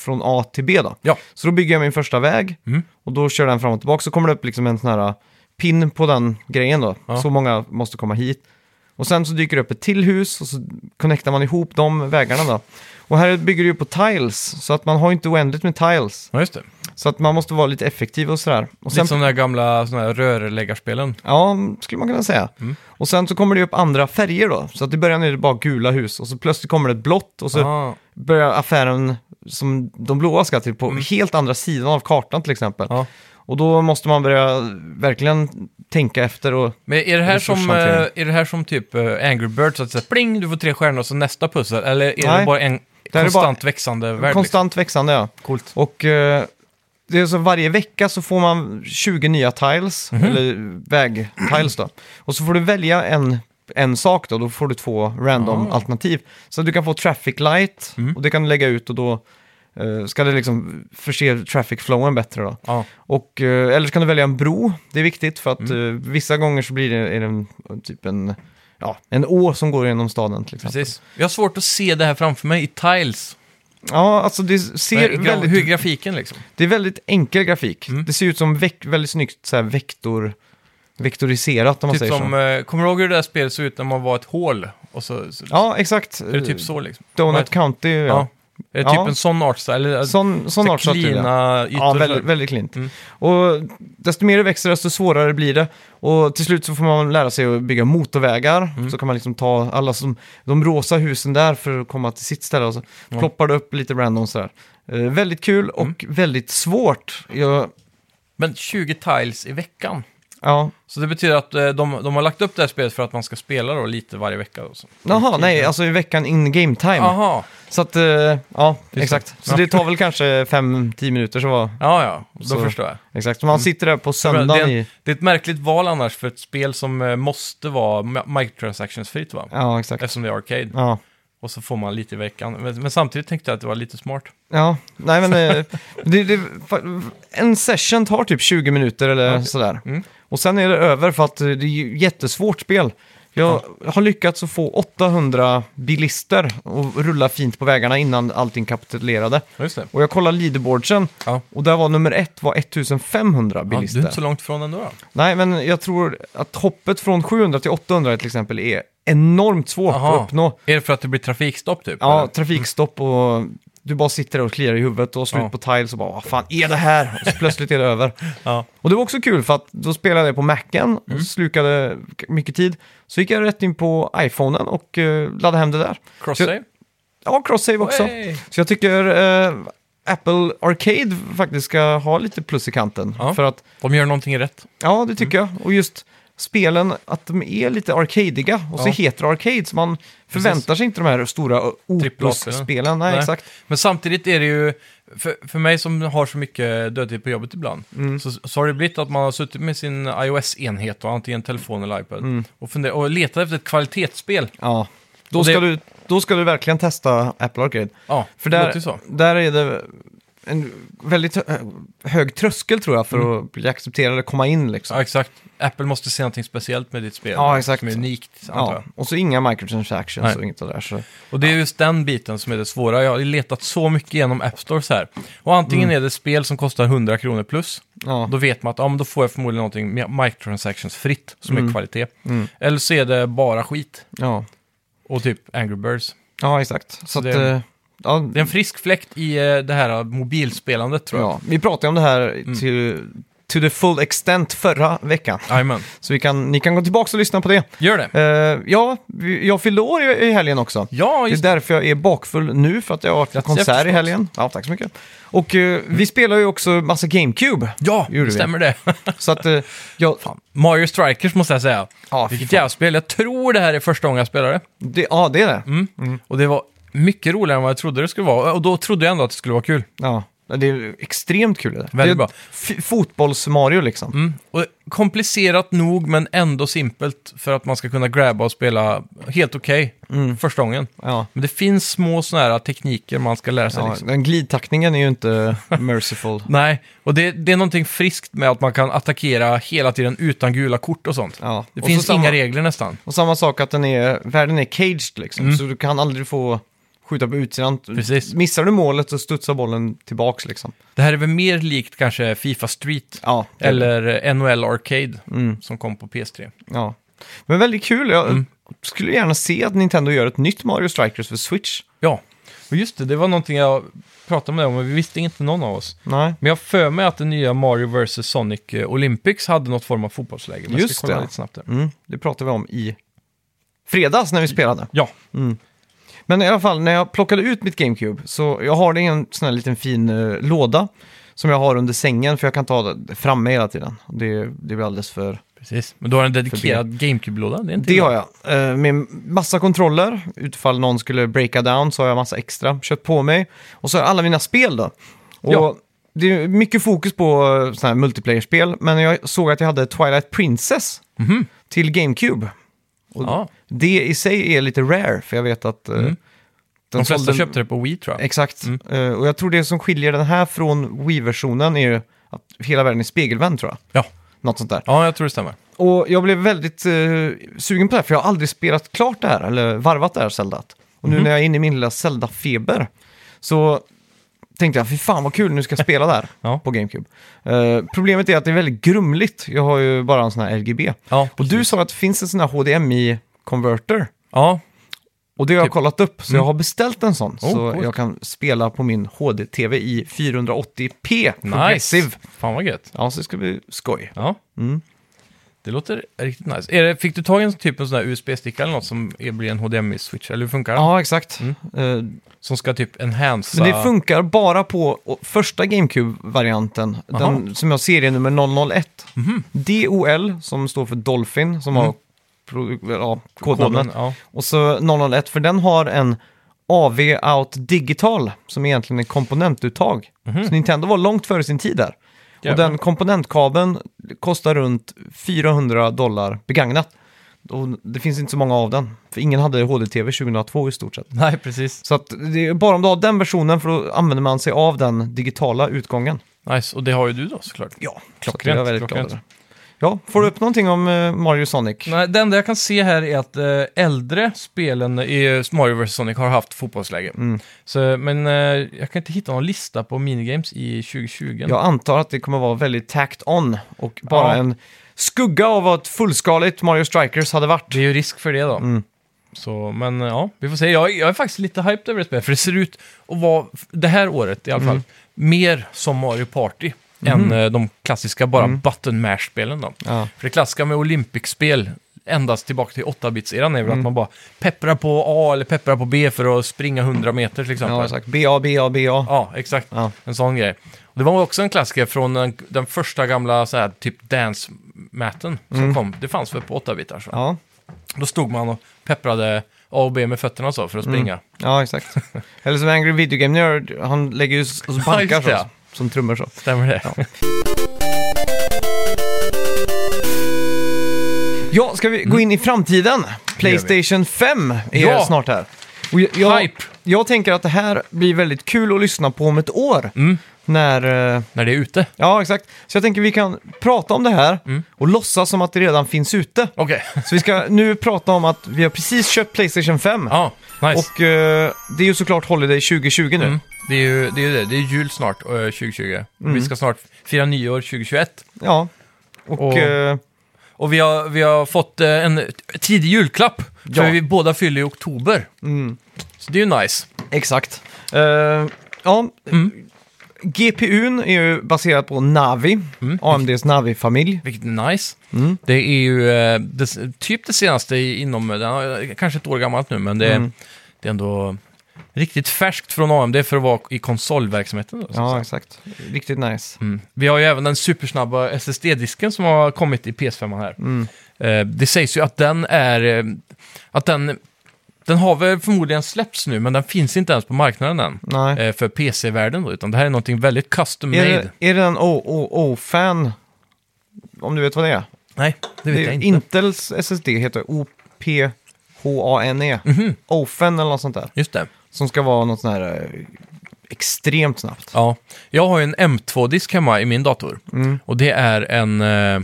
[SPEAKER 1] från A till B då.
[SPEAKER 2] Ja.
[SPEAKER 1] Så då bygger jag min första väg
[SPEAKER 2] Mm.
[SPEAKER 1] och då kör den fram och tillbaka. Så kommer det upp liksom en sån här pin på den grejen då.
[SPEAKER 2] Ja.
[SPEAKER 1] Så många måste komma hit. Och sen så dyker det upp ett till hus och så connectar man ihop de vägarna då. Och här bygger det ju på tiles, så att man har ju inte oändligt med tiles.
[SPEAKER 2] Ja, just det.
[SPEAKER 1] Så att man måste vara lite effektiv och sådär. Och sen,
[SPEAKER 2] Lite som de här gamla såna här rörläggarspelen.
[SPEAKER 1] Ja, skulle man kunna säga.
[SPEAKER 2] Mm.
[SPEAKER 1] Och sen så kommer det ju upp andra färger då. Så att i början är det bara gula hus och så plötsligt kommer det ett blått och så
[SPEAKER 2] Ah,
[SPEAKER 1] börjar affären som de blåa ska till på
[SPEAKER 2] Mm.
[SPEAKER 1] helt andra sidan av kartan till exempel.
[SPEAKER 2] ja.
[SPEAKER 1] Och då måste man börja verkligen tänka efter och
[SPEAKER 2] Men är det här som, eh,
[SPEAKER 1] Resurshantering.
[SPEAKER 2] är det här som typ eh, Angry Birds? Att säga, pling, du får tre stjärnor och så nästa pussel. Eller är
[SPEAKER 1] Nej.
[SPEAKER 2] det bara en
[SPEAKER 1] Det här är
[SPEAKER 2] konstant växande värld?
[SPEAKER 1] konstant växande. Ja.
[SPEAKER 2] Liksom? Coolt.
[SPEAKER 1] Och eh, det är så varje vecka så får man 20 nya tiles,
[SPEAKER 2] Mhm.
[SPEAKER 1] eller vägtiles då. Och så får du välja en, en sak då, då får du två random
[SPEAKER 2] Ah. Mhm.
[SPEAKER 1] alternativ. Så du kan få traffic light och det kan du lägga ut och då eh, ska det liksom förse traffic flowen bättre då.
[SPEAKER 2] liksom? Ja.
[SPEAKER 1] Och, eh, eller så kan du välja en bro, det är viktigt för att
[SPEAKER 2] Mhm.
[SPEAKER 1] eh, vissa gånger så blir det, är det en, typ en, ja, en å som går genom staden till exempel.
[SPEAKER 2] Precis. Jag har svårt att se det här framför mig i tiles.
[SPEAKER 1] Ja, alltså det ser
[SPEAKER 2] Ser
[SPEAKER 1] väldigt...
[SPEAKER 2] Hur är grafiken liksom?
[SPEAKER 1] Det är väldigt enkel grafik.
[SPEAKER 2] Mm.
[SPEAKER 1] Det ser ut som vek- väldigt snyggt så här vektor, vektoriserat om man
[SPEAKER 2] Typ
[SPEAKER 1] säger
[SPEAKER 2] som,
[SPEAKER 1] så.
[SPEAKER 2] eh, kommer du ihåg hur det där spelet såg ut när man var ett hål? Och så, så,
[SPEAKER 1] Ja, exakt.
[SPEAKER 2] Är det typ så liksom?
[SPEAKER 1] Donut
[SPEAKER 2] Right.
[SPEAKER 1] County, ja.
[SPEAKER 2] Ja. Är det typ
[SPEAKER 1] Ja.
[SPEAKER 2] en sån artstyle? Eller,
[SPEAKER 1] Sån, sån art satt det. ja.
[SPEAKER 2] Klina ytor?
[SPEAKER 1] Ja,
[SPEAKER 2] så-
[SPEAKER 1] väldigt, väldigt klint.
[SPEAKER 2] Mm.
[SPEAKER 1] Och desto mer det växer, desto svårare blir det. Och till slut så får man lära sig att bygga motorvägar.
[SPEAKER 2] Mm.
[SPEAKER 1] Så kan man liksom ta alla som, de rosa husen där för att komma till sitt ställe. Och så ploppar det upp lite random sådär. Eh, väldigt kul och
[SPEAKER 2] Mm.
[SPEAKER 1] väldigt svårt. Jag,
[SPEAKER 2] Men 20 tiles i veckan.
[SPEAKER 1] ja,
[SPEAKER 2] Så det betyder att eh, de, de har lagt upp det här spelet för att man ska spela då lite varje vecka? och så.
[SPEAKER 1] Jaha, nej, alltså i veckan in game time.
[SPEAKER 2] Jaha,
[SPEAKER 1] Så att, eh, ja, exakt. Så
[SPEAKER 2] Ja.
[SPEAKER 1] det tar väl kanske 5-10 minuter så var
[SPEAKER 2] ja ja, då
[SPEAKER 1] Så-
[SPEAKER 2] förstår Mm. jag.
[SPEAKER 1] exakt. Så man sitter där på
[SPEAKER 2] det, är
[SPEAKER 1] söndagen
[SPEAKER 2] en,
[SPEAKER 1] i...
[SPEAKER 2] det är ett märkligt val annars för ett spel som eh, måste vara ma- microtransactions-fritt va?
[SPEAKER 1] Ja, exakt.
[SPEAKER 2] Eftersom det är arcade.
[SPEAKER 1] Ja.
[SPEAKER 2] Och så får man lite i veckan. Men, men samtidigt tänkte jag att det var lite smart.
[SPEAKER 1] ja, nej men eh, det, det, fa- en session tar typ 20 minuter eller sådär.
[SPEAKER 2] Mm.
[SPEAKER 1] Och sen är det över för att eh, det är ju jättesvårt spel. Jag har lyckats att få 800 bilister att rulla fint på vägarna innan allting kapitulerade.
[SPEAKER 2] Ja, just det.
[SPEAKER 1] Och jag kollade leaderboardsen
[SPEAKER 2] Ja.
[SPEAKER 1] och där var nummer ett var 1500
[SPEAKER 2] Ja, du är
[SPEAKER 1] bilister.
[SPEAKER 2] inte så långt från ändå. Då.
[SPEAKER 1] Nej, men jag tror att hoppet från 700 till 800 till exempel är enormt svårt
[SPEAKER 2] Aha.
[SPEAKER 1] att uppnå.
[SPEAKER 2] Är det för att det blir trafikstopp typ?
[SPEAKER 1] Ja,
[SPEAKER 2] eller?
[SPEAKER 1] trafikstopp och du bara sitter där och kliar i huvudet och slut
[SPEAKER 2] Ja.
[SPEAKER 1] på tiles och bara vad fan är det här? Och så plötsligt är det över.
[SPEAKER 2] ja.
[SPEAKER 1] Och det var också kul för att då spelade jag på Macen och
[SPEAKER 2] Mm.
[SPEAKER 1] slukade mycket tid. Så gick jag rätt in på iPhonen och eh, laddade hem det där.
[SPEAKER 2] Cross-save?
[SPEAKER 1] Ja, cross-save också.
[SPEAKER 2] Hey!
[SPEAKER 1] Så jag tycker eh, Apple Arcade faktiskt ska ha lite plus i kanten.
[SPEAKER 2] Ja.
[SPEAKER 1] För att
[SPEAKER 2] De gör någonting rätt.
[SPEAKER 1] Ja, det tycker
[SPEAKER 2] Mm.
[SPEAKER 1] jag. Och just spelen, att de är lite arcadiga. Och så
[SPEAKER 2] Ja.
[SPEAKER 1] heter det arcade, så man förväntar sig inte de här stora uh, Opus-spelen. Nej,
[SPEAKER 2] Nej.
[SPEAKER 1] exakt.
[SPEAKER 2] Men samtidigt är det ju, för, för mig som har så mycket dödtid på jobbet ibland,
[SPEAKER 1] Mm.
[SPEAKER 2] så, så har det blivit att man har suttit med sin iOS-enhet, då, antingen telefon eller iPad,
[SPEAKER 1] Mm.
[SPEAKER 2] och, funder- och letat efter ett kvalitetsspel.
[SPEAKER 1] Ja. Då,
[SPEAKER 2] Och det-
[SPEAKER 1] ska du, då ska du verkligen testa Apple Arcade.
[SPEAKER 2] Ja,
[SPEAKER 1] För
[SPEAKER 2] det låter
[SPEAKER 1] där,
[SPEAKER 2] ju så.
[SPEAKER 1] där är det en väldigt hö- hög tröskel tror jag för
[SPEAKER 2] Mm.
[SPEAKER 1] att bli accepterad och komma in liksom.
[SPEAKER 2] Ja, exakt. Apple måste se någonting speciellt med ditt spel.
[SPEAKER 1] Ja, exakt.
[SPEAKER 2] Som är unikt,
[SPEAKER 1] Ja,
[SPEAKER 2] antar jag.
[SPEAKER 1] och så inga microtransactions
[SPEAKER 2] Nej.
[SPEAKER 1] och inget av det där. Så.
[SPEAKER 2] Och det är just den biten som är det svåra. Jag har letat så mycket genom App Stores här. Och antingen är det spel som kostar 100 kronor plus,
[SPEAKER 1] Mm. Ja.
[SPEAKER 2] Då vet man att ja, men då får jag förmodligen någonting
[SPEAKER 1] Mm.
[SPEAKER 2] med microtransactions fritt som är kvalitet. Eller så är det bara skit.
[SPEAKER 1] Ja.
[SPEAKER 2] Och Och typ Angry Birds.
[SPEAKER 1] Ja, exakt. Så, att,
[SPEAKER 2] det är-
[SPEAKER 1] eh, ja,
[SPEAKER 2] Det är en frisk fläkt i eh, det här mobilspelandet tror jag.
[SPEAKER 1] ja, vi pratade om det här
[SPEAKER 2] Mm.
[SPEAKER 1] till, to the full extent förra veckan.
[SPEAKER 2] Jajamän.
[SPEAKER 1] Så vi kan, ni kan gå tillbaka och lyssna på det.
[SPEAKER 2] Gör det.
[SPEAKER 1] Eh, ja, vi- jag fyllde år i, i helgen också.
[SPEAKER 2] Ja,
[SPEAKER 1] Det är
[SPEAKER 2] just
[SPEAKER 1] därför jag är bakfull nu, för att jag har varit på
[SPEAKER 2] Grattis, jag
[SPEAKER 1] konsert i
[SPEAKER 2] förstått.
[SPEAKER 1] helgen. Ja, tack så mycket. Och eh, vi spelar ju också massa GameCube.
[SPEAKER 2] Ja,
[SPEAKER 1] Gjorde vi.
[SPEAKER 2] det stämmer det.
[SPEAKER 1] Så att eh, jag...
[SPEAKER 2] Mario Strikers måste jag säga.
[SPEAKER 1] Ja, fy
[SPEAKER 2] Vilket
[SPEAKER 1] fan.
[SPEAKER 2] jävla spel. Jag tror det här är första gången jag spelade.
[SPEAKER 1] Det, ja, det är det.
[SPEAKER 2] Mm. Och det var mycket roligare än vad jag trodde det skulle vara. Och då trodde jag ändå att det skulle vara kul.
[SPEAKER 1] Ja. Det är extremt kul. Det. där.
[SPEAKER 2] Väldigt
[SPEAKER 1] det är
[SPEAKER 2] bra.
[SPEAKER 1] f- Fotbolls-Mario liksom.
[SPEAKER 2] Mm. Och komplicerat nog, men ändå simpelt för att man ska kunna grabba och spela helt okej första gången.
[SPEAKER 1] Mm, Ja.
[SPEAKER 2] Men det finns små sådana här tekniker man ska lära sig.
[SPEAKER 1] Ja,
[SPEAKER 2] liksom.
[SPEAKER 1] Den glidtackningen är ju inte merciful.
[SPEAKER 2] Nej, och det, det är någonting friskt med att man kan attackera hela tiden utan gula kort och sånt.
[SPEAKER 1] Ja.
[SPEAKER 2] Det
[SPEAKER 1] Och
[SPEAKER 2] finns
[SPEAKER 1] så samma-
[SPEAKER 2] inga regler nästan.
[SPEAKER 1] Och samma sak att den är, världen är caged liksom, så du kan aldrig få skjuta på utsidan.
[SPEAKER 2] Mm. Precis.
[SPEAKER 1] Missar du målet så studsar bollen tillbaks liksom.
[SPEAKER 2] Det här är väl mer likt kanske Fifa Street
[SPEAKER 1] Ja, det-
[SPEAKER 2] eller eh, NHL Arcade som kom på PS3.
[SPEAKER 1] Mm, Ja. Men väldigt kul. Jag
[SPEAKER 2] Mm.
[SPEAKER 1] skulle gärna se att Nintendo gör ett nytt Mario Strikers för Switch.
[SPEAKER 2] Ja, och just det, det var någonting jag pratade med dig om, men vi visste inte någon av oss.
[SPEAKER 1] Nej.
[SPEAKER 2] Men jag har för mig att det nya Mario vs. Sonic eh, Olympics hade något form av fotbollsläge. Men jag
[SPEAKER 1] Just
[SPEAKER 2] ska kolla
[SPEAKER 1] det.
[SPEAKER 2] lite snabbt där.
[SPEAKER 1] Mm. Det pratade vi om i fredags när vi spelade. Mm.
[SPEAKER 2] Ja,
[SPEAKER 1] Men i alla fall, när jag plockade ut mitt GameCube, så jag har det i en sån här liten fin eh, låda som jag har under sängen, för jag kan ta det framme hela tiden. Det, det blir alldeles för...
[SPEAKER 2] precis. Men du har en dedikerad GameCube-låda? Det, är inte
[SPEAKER 1] Det har jag. Eh, Med massa kontroller, utifall någon skulle breaka down så har jag massa extra köpt på mig. Och så har jag alla mina spel då. Och
[SPEAKER 2] Ja.
[SPEAKER 1] Det är mycket fokus på eh, såna här multiplayer-spel, men jag såg att jag hade Twilight Princess
[SPEAKER 2] Mhm.
[SPEAKER 1] till GameCube. Och
[SPEAKER 2] Ja,
[SPEAKER 1] Det i sig är lite rare, för jag vet att... eh,
[SPEAKER 2] Mm. de flesta
[SPEAKER 1] sålde-
[SPEAKER 2] köpte det Mm. på Wii tror jag.
[SPEAKER 1] Exakt. Eh, Och jag tror det som skiljer den här från Wii-versionen är ju att hela världen är spegelvänd tror jag.
[SPEAKER 2] Ja.
[SPEAKER 1] Något sånt där.
[SPEAKER 2] ja, jag tror det stämmer.
[SPEAKER 1] Och jag blev väldigt eh, sugen på det här, för jag har aldrig spelat klart det här, eller varvat det här Zeldat. Och
[SPEAKER 2] Mhm.
[SPEAKER 1] nu när jag är inne i min lilla Zelda-feber så tänkte jag, fy fan vad kul, nu ska jag spela där
[SPEAKER 2] Ja.
[SPEAKER 1] på GameCube. Eh, problemet är att det är väldigt grumligt, jag har ju bara en sån här LGB.
[SPEAKER 2] Ja,
[SPEAKER 1] Och du sa att det finns en sån här HDMI-converter.
[SPEAKER 2] ja,
[SPEAKER 1] Och det har jag
[SPEAKER 2] Typ.
[SPEAKER 1] kollat upp, så jag har beställt en sån.
[SPEAKER 2] Oh,
[SPEAKER 1] så
[SPEAKER 2] coolt.
[SPEAKER 1] jag kan spela på min HD-TV i 480p
[SPEAKER 2] nice.
[SPEAKER 1] progressive.
[SPEAKER 2] Fan vad gött.
[SPEAKER 1] Ja, så det ska bli skoj.
[SPEAKER 2] Ja. Det låter riktigt nice. Är det, fick du tag i en typ en sån här USB-sticka eller något som är- blir en HDMI-switch? Eller hur funkar det?
[SPEAKER 1] Ja, exakt. Eh,
[SPEAKER 2] Som ska typ enhansa...
[SPEAKER 1] Men det funkar bara på å- första GameCube-varianten, den
[SPEAKER 2] Aha. Mhm.
[SPEAKER 1] som har serienummer 001. DOL, som står för Dolphin, som har pro- ja, kodnamnet.
[SPEAKER 2] Ja.
[SPEAKER 1] Och så 001, för den har en AV Out Digital, som egentligen är komponentuttag. Så Nintendo var långt före sin tid där. Och
[SPEAKER 2] Mhm. Jävlar.
[SPEAKER 1] den komponentkabeln kostar runt 400 dollar begagnat. Och det finns inte så många av den, för ingen hade HD-TV 2002 i stort sett.
[SPEAKER 2] Nej, precis.
[SPEAKER 1] Så att det är bara om du har den versionen, för då använder man sig av den digitala utgången.
[SPEAKER 2] Nice, och det har ju du då såklart.
[SPEAKER 1] Ja,
[SPEAKER 2] klockrent,
[SPEAKER 1] Jag är väldigt
[SPEAKER 2] klockrent.
[SPEAKER 1] glad över. Ja, får du upp någonting om eh, Mario Sonic?
[SPEAKER 2] Nej, det enda jag kan se här är att eh, äldre spelen i eh, Mario vs. Sonic har haft fotbollsläge. Så, men eh, jag kan inte hitta någon lista på minigames i 2020.
[SPEAKER 1] Jag antar att det kommer vara väldigt tacked on och bara
[SPEAKER 2] Ja.
[SPEAKER 1] en skugga av vad ett fullskaligt Mario Strikers hade varit.
[SPEAKER 2] Det är ju risk för det då.
[SPEAKER 1] Mm.
[SPEAKER 2] Så, men eh, ja, vi får se. Jag, jag är faktiskt lite hyped över det spelet, för det ser ut att vara, det här året i alla fall, mer som Mario Party än eh, de klassiska bara button mash-spelen då.
[SPEAKER 1] Ja.
[SPEAKER 2] För det klassiska med Olympic-spel, endast tillbaka till 8-bits-eran, är väl
[SPEAKER 1] Mm.
[SPEAKER 2] att man bara pepprar på A eller pepprar på B för att springa 100 meter till exempel.
[SPEAKER 1] Ja, exakt. BA, BA, BA.
[SPEAKER 2] Ja, exakt.
[SPEAKER 1] Ja.
[SPEAKER 2] En sån grej. Och det var också en klassiker från den, den första gamla så här, typ dance-matten som kom. Det fanns väl på 8-bitar. så.
[SPEAKER 1] Mm. Ja,
[SPEAKER 2] Då stod man och pepprade A och B med fötterna och så för att
[SPEAKER 1] Mm.
[SPEAKER 2] springa.
[SPEAKER 1] ja exakt. Eller som Angry Video Game Nerd, han lägger ju s- och så
[SPEAKER 2] Ja,
[SPEAKER 1] bankar
[SPEAKER 2] just det,
[SPEAKER 1] så,
[SPEAKER 2] ja.
[SPEAKER 1] som trummor så.
[SPEAKER 2] Stämmer det? Ja.
[SPEAKER 1] Ja, ska vi gå in i
[SPEAKER 2] Mm.
[SPEAKER 1] framtiden? Playstation 5 är
[SPEAKER 2] Ja.
[SPEAKER 1] snart här. Och jag, jag,
[SPEAKER 2] Hype.
[SPEAKER 1] jag tänker att det här blir väldigt kul att lyssna på om ett år.
[SPEAKER 2] Mm.
[SPEAKER 1] När, eh,
[SPEAKER 2] När det är ute?
[SPEAKER 1] ja, exakt. Så jag tänker vi kan prata om det här
[SPEAKER 2] Mm.
[SPEAKER 1] och låtsas som att det redan finns ute.
[SPEAKER 2] Okej.
[SPEAKER 1] Så vi ska nu prata om att vi har precis köpt Playstation 5.
[SPEAKER 2] Ja, nice.
[SPEAKER 1] Och eh, det är ju såklart Holiday 2020 nu.
[SPEAKER 2] Mm. Det är ju det. Är ju det. det är jul snart, eh,
[SPEAKER 1] Mm.
[SPEAKER 2] 2020. Vi ska snart fira nyår 2021.
[SPEAKER 1] Ja. Och,
[SPEAKER 2] Och-
[SPEAKER 1] eh,
[SPEAKER 2] Och vi har, vi har fått eh, en tidig julklapp.
[SPEAKER 1] Ja.
[SPEAKER 2] För vi båda fyller i oktober.
[SPEAKER 1] mm.
[SPEAKER 2] Så det är ju nice.
[SPEAKER 1] Exakt. Eh, ja,
[SPEAKER 2] Mm.
[SPEAKER 1] GPUn är ju baserad på Navi,
[SPEAKER 2] Mm.
[SPEAKER 1] AMDs Navi-familj. Mm.
[SPEAKER 2] Vilket är nice. Det är ju eh, det, typ det senaste i- inom, den har- kanske ett år gammalt nu, men det, är-
[SPEAKER 1] Mm.
[SPEAKER 2] det är ändå riktigt färskt från AMD för att vara i konsolverksamheten. Då, så att
[SPEAKER 1] Ja,
[SPEAKER 2] säga.
[SPEAKER 1] exakt. Riktigt nice.
[SPEAKER 2] Mm. Vi har ju även den supersnabba SSD-disken som har kommit i PS5 här.
[SPEAKER 1] Mm.
[SPEAKER 2] Eh, det sägs ju att den är... eh, Att den, den har väl förmodligen släppts nu, men den finns inte ens på marknaden än.
[SPEAKER 1] Nej.
[SPEAKER 2] eh, För PC-världen då, utan det här är någonting väldigt custom
[SPEAKER 1] Är
[SPEAKER 2] made.
[SPEAKER 1] det, är det en OOO-fan? Om du vet vad det är?
[SPEAKER 2] Nej, det vet
[SPEAKER 1] Det
[SPEAKER 2] jag
[SPEAKER 1] är
[SPEAKER 2] inte.
[SPEAKER 1] Intels SSD heter OPHANE. E.
[SPEAKER 2] Mhm.
[SPEAKER 1] OFAN eller något sånt där.
[SPEAKER 2] Just det.
[SPEAKER 1] Som ska vara något sånt här eh, extremt snabbt.
[SPEAKER 2] Ja, jag har ju en M2-disk hemma i min dator.
[SPEAKER 1] Mm.
[SPEAKER 2] Och det är en... Eh,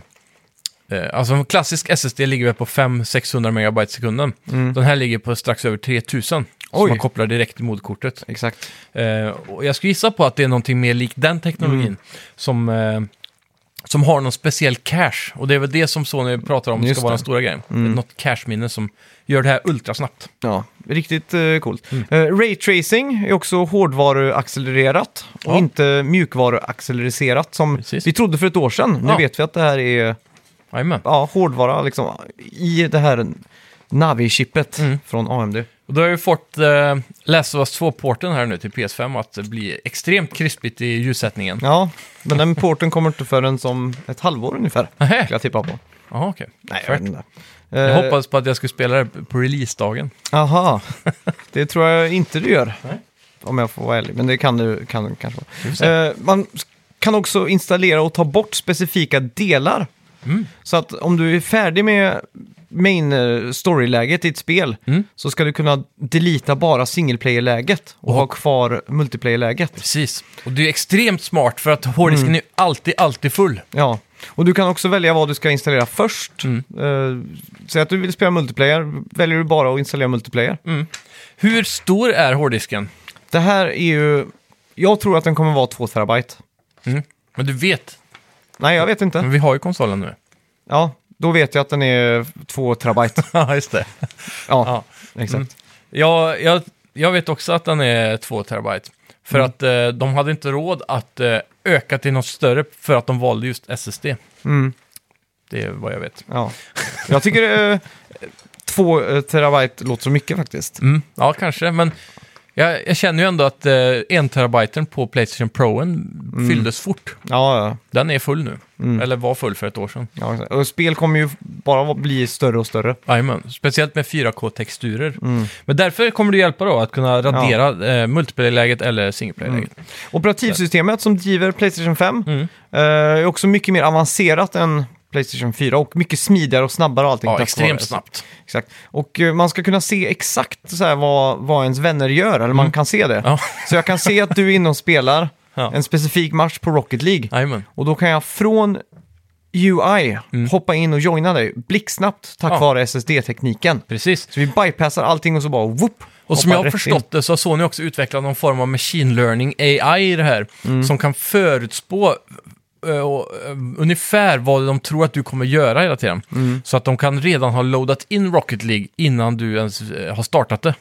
[SPEAKER 2] eh, alltså en klassisk SSD ligger väl på 500-600 megabyte i sekunden. Den här ligger på strax över 3000. Som
[SPEAKER 1] Mm. Oj.
[SPEAKER 2] man kopplar direkt till moderkortet.
[SPEAKER 1] Exakt.
[SPEAKER 2] Eh, och jag skulle gissa på att det är någonting mer lik den teknologin.
[SPEAKER 1] Mm.
[SPEAKER 2] Som, eh, som har någon speciell cache. Och det är väl det som Sony pratar om
[SPEAKER 1] Just
[SPEAKER 2] ska vara den
[SPEAKER 1] det. Mm.
[SPEAKER 2] stora grejen. Något cache-minne som gör det här ultrasnabbt.
[SPEAKER 1] Ja, riktigt eh, coolt.
[SPEAKER 2] Mm.
[SPEAKER 1] Eh, Raytracing är också hårdvaruaccelererat och
[SPEAKER 2] Ja.
[SPEAKER 1] inte mjukvaruaccelererat som
[SPEAKER 2] Precis.
[SPEAKER 1] vi trodde för ett år sedan. Nu
[SPEAKER 2] Ja.
[SPEAKER 1] vet vi att det här är
[SPEAKER 2] Jajamän.
[SPEAKER 1] ja, hårdvara liksom, i det här Navi-chippet
[SPEAKER 2] Mm.
[SPEAKER 1] från AMD.
[SPEAKER 2] Och då har vi fått eh, Last of Us 2-porten här nu till PS5 att bli extremt krispigt i ljussättningen.
[SPEAKER 1] Ja, men den porten kommer inte förrän som ett halvår ungefär. Skulle
[SPEAKER 2] Nähä.
[SPEAKER 1] jag tippa på.
[SPEAKER 2] Jaha, okej.
[SPEAKER 1] Nej, jag
[SPEAKER 2] Fair.
[SPEAKER 1] vet inte.
[SPEAKER 2] Jag
[SPEAKER 1] Eh,
[SPEAKER 2] hoppades på att jag skulle spela det på releasedagen.
[SPEAKER 1] Aha, det tror jag inte du gör. Om jag får vara ärlig, men det kan du kan, du kanske
[SPEAKER 2] Vi får se.
[SPEAKER 1] vara. Eh, man s- kan också installera och ta bort specifika delar.
[SPEAKER 2] Mm.
[SPEAKER 1] Så att om du är färdig med main eh, story-läget i ett spel
[SPEAKER 2] Mm.
[SPEAKER 1] så ska du kunna deleta bara single player-läget och ha kvar multiplayer-läget.
[SPEAKER 2] Precis. Mm. Och det är extremt smart för att hårddisken är ju alltid, alltid full.
[SPEAKER 1] Ja, och du kan också välja vad du ska installera först.
[SPEAKER 2] Mm.
[SPEAKER 1] Eh, säg att du vill spela multiplayer, väljer du bara att installera multiplayer.
[SPEAKER 2] Mm. Hur stor är hårddisken?
[SPEAKER 1] Det här är ju... Jag tror att den kommer vara 2 terabyte.
[SPEAKER 2] Mm. Men du vet,
[SPEAKER 1] Nej, jag vet inte.
[SPEAKER 2] men vi har ju konsolen nu.
[SPEAKER 1] Ja, då vet jag att den är 2 terabyte.
[SPEAKER 2] Ja, just det.
[SPEAKER 1] Ja,
[SPEAKER 2] Ja.
[SPEAKER 1] exakt.
[SPEAKER 2] Mm. Jag, jag, jag vet också att den är 2 terabyte. För att eh, de hade inte råd att eh, öka till något större för att de valde just SSD.
[SPEAKER 1] Mm.
[SPEAKER 2] Det är vad jag vet.
[SPEAKER 1] Ja. Jag tycker eh, 2 eh, terabyte låter så mycket faktiskt.
[SPEAKER 2] Mm, ja, kanske, men jag, jag känner ju ändå att eh, en terabyten på Playstation Proen
[SPEAKER 1] Mm.
[SPEAKER 2] fylldes fort.
[SPEAKER 1] Ja, ja.
[SPEAKER 2] Den är full nu,
[SPEAKER 1] Mm.
[SPEAKER 2] eller var full för ett år sedan.
[SPEAKER 1] ja. exakt. Och spel kommer ju bara bli större och större.
[SPEAKER 2] Jajamän, speciellt med 4K-texturer.
[SPEAKER 1] Mm.
[SPEAKER 2] Men därför kommer det hjälpa då att kunna radera eh, multiplayer-läget eller singleplayer-läget.
[SPEAKER 1] Mm. Operativsystemet som driver Playstation 5
[SPEAKER 2] Mm.
[SPEAKER 1] eh, är också mycket mer avancerat än Playstation 4 och mycket smidigare och snabbare och allting.
[SPEAKER 2] Ja,
[SPEAKER 1] tack vare
[SPEAKER 2] extremt
[SPEAKER 1] det.
[SPEAKER 2] snabbt.
[SPEAKER 1] Exakt. Och eh, man ska kunna se exakt så här vad, vad ens vänner gör, eller man kan se det.
[SPEAKER 2] Mm. Ja.
[SPEAKER 1] Så jag kan se att du är inne och spelar
[SPEAKER 2] Ja.
[SPEAKER 1] en specifik match på Rocket League.
[SPEAKER 2] Jajamän.
[SPEAKER 1] Och då kan jag från UI hoppa in och joina dig blixtsnabbt tack
[SPEAKER 2] Mm. Ja.
[SPEAKER 1] vare SSD-tekniken.
[SPEAKER 2] Precis.
[SPEAKER 1] Så vi bypassar allting och så bara whoop!
[SPEAKER 2] Och som
[SPEAKER 1] hoppar
[SPEAKER 2] jag har
[SPEAKER 1] rätt in.
[SPEAKER 2] förstått det så har Sony också utvecklat någon form av machine learning AI i det här.
[SPEAKER 1] Mm.
[SPEAKER 2] Som kan förutspå eh, och, eh, ungefär vad de tror att du kommer göra hela tiden.
[SPEAKER 1] Mm.
[SPEAKER 2] Så att de kan redan ha loadat in Rocket League innan du ens eh, har startat det.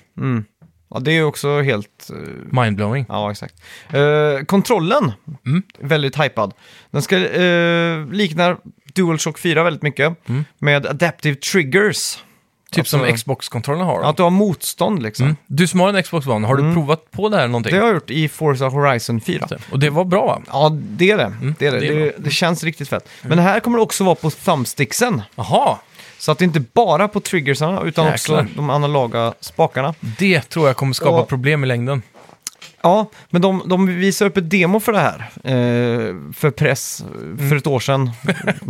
[SPEAKER 1] Ja, det är ju också helt... eh,
[SPEAKER 2] Mindblowing.
[SPEAKER 1] Ja, exakt. Eh, kontrollen,
[SPEAKER 2] Mm.
[SPEAKER 1] väldigt hypad. Den ska eh, likna DualShock 4 väldigt mycket med adaptive triggers.
[SPEAKER 2] Mm. Typ som
[SPEAKER 1] Alltså-
[SPEAKER 2] Xbox-kontrollen har.
[SPEAKER 1] Att du har motstånd liksom.
[SPEAKER 2] Mm. Du som har en Xbox One, har du provat på det här någonting?
[SPEAKER 1] Mm. Det har jag gjort i Forza Horizon 4.
[SPEAKER 2] Och det var bra va?
[SPEAKER 1] Ja, det är det. det, är det.
[SPEAKER 2] Mm. det är Mm.
[SPEAKER 1] det, det känns riktigt fett. Men här kommer det också vara på thumbsticksen.
[SPEAKER 2] Jaha,
[SPEAKER 1] Så att det inte bara på triggersarna utan
[SPEAKER 2] Jäklar.
[SPEAKER 1] också de analoga spakarna.
[SPEAKER 2] det tror jag kommer skapa
[SPEAKER 1] Och-
[SPEAKER 2] problem i längden.
[SPEAKER 1] Ja, men de, de visar upp ett demo för det här. Eh, för press eh, för ett år sedan.
[SPEAKER 2] Mm.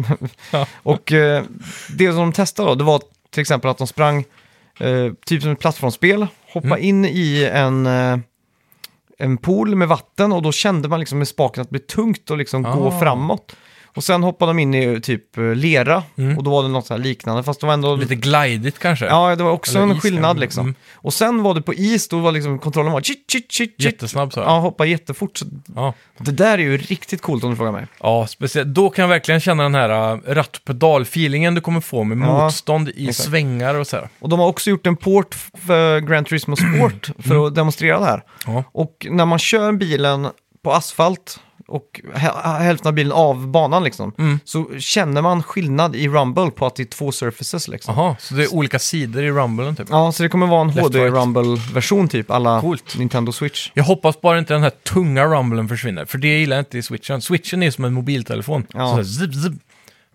[SPEAKER 2] Ja.
[SPEAKER 1] Och eh, det som de testade då, det var till exempel att de sprang, eh, typ som ett plattformsspel, hoppa
[SPEAKER 2] Mm.
[SPEAKER 1] in i en, eh, en pool med vatten och då kände man liksom med spaken att det blev tungt och liksom gå
[SPEAKER 2] Ah.
[SPEAKER 1] framåt. Och sen hoppade de in i typ eh, lera och då var det något så här liknande. Fast det var ändå...
[SPEAKER 2] Mm. Lite glidigt kanske.
[SPEAKER 1] Ja, det var också
[SPEAKER 2] Eller
[SPEAKER 1] en
[SPEAKER 2] is
[SPEAKER 1] skillnad
[SPEAKER 2] kanske.
[SPEAKER 1] liksom.
[SPEAKER 2] Mm.
[SPEAKER 1] Och sen var det på is, då var liksom kontrollen var chit, chit, chit, chit.
[SPEAKER 2] Jättesnabb så.
[SPEAKER 1] Ja,
[SPEAKER 2] Ja.
[SPEAKER 1] hoppa jättefort. Så
[SPEAKER 2] Ja.
[SPEAKER 1] det där är ju riktigt coolt om du frågar mig.
[SPEAKER 2] ja, speciellt. Då kan jag verkligen känna den här äh, rattpedal-feelingen du kommer få med
[SPEAKER 1] Ja,
[SPEAKER 2] motstånd i
[SPEAKER 1] exakt.
[SPEAKER 2] svängar och så här.
[SPEAKER 1] Och de har också gjort en port för Gran Turismo Sport för att demonstrera det här.
[SPEAKER 2] Mm. Ja.
[SPEAKER 1] Och när man kör bilen på asfalt och hä- hälften av bilen av banan liksom,
[SPEAKER 2] Mm.
[SPEAKER 1] så känner man skillnad i Rumble på att det är två surfaces liksom.
[SPEAKER 2] Aha, så det är olika sidor i rumblen typ.
[SPEAKER 1] Ja, så det kommer vara en
[SPEAKER 2] Left,
[SPEAKER 1] HD
[SPEAKER 2] right.
[SPEAKER 1] Rumble-version typ, alla
[SPEAKER 2] Coolt.
[SPEAKER 1] Nintendo Switch.
[SPEAKER 2] Jag hoppas bara inte den här tunga rumblen försvinner, för det gillar jag inte i switchen. Switchen är som en mobiltelefon.
[SPEAKER 1] Ja.
[SPEAKER 2] Så här, zip, zip.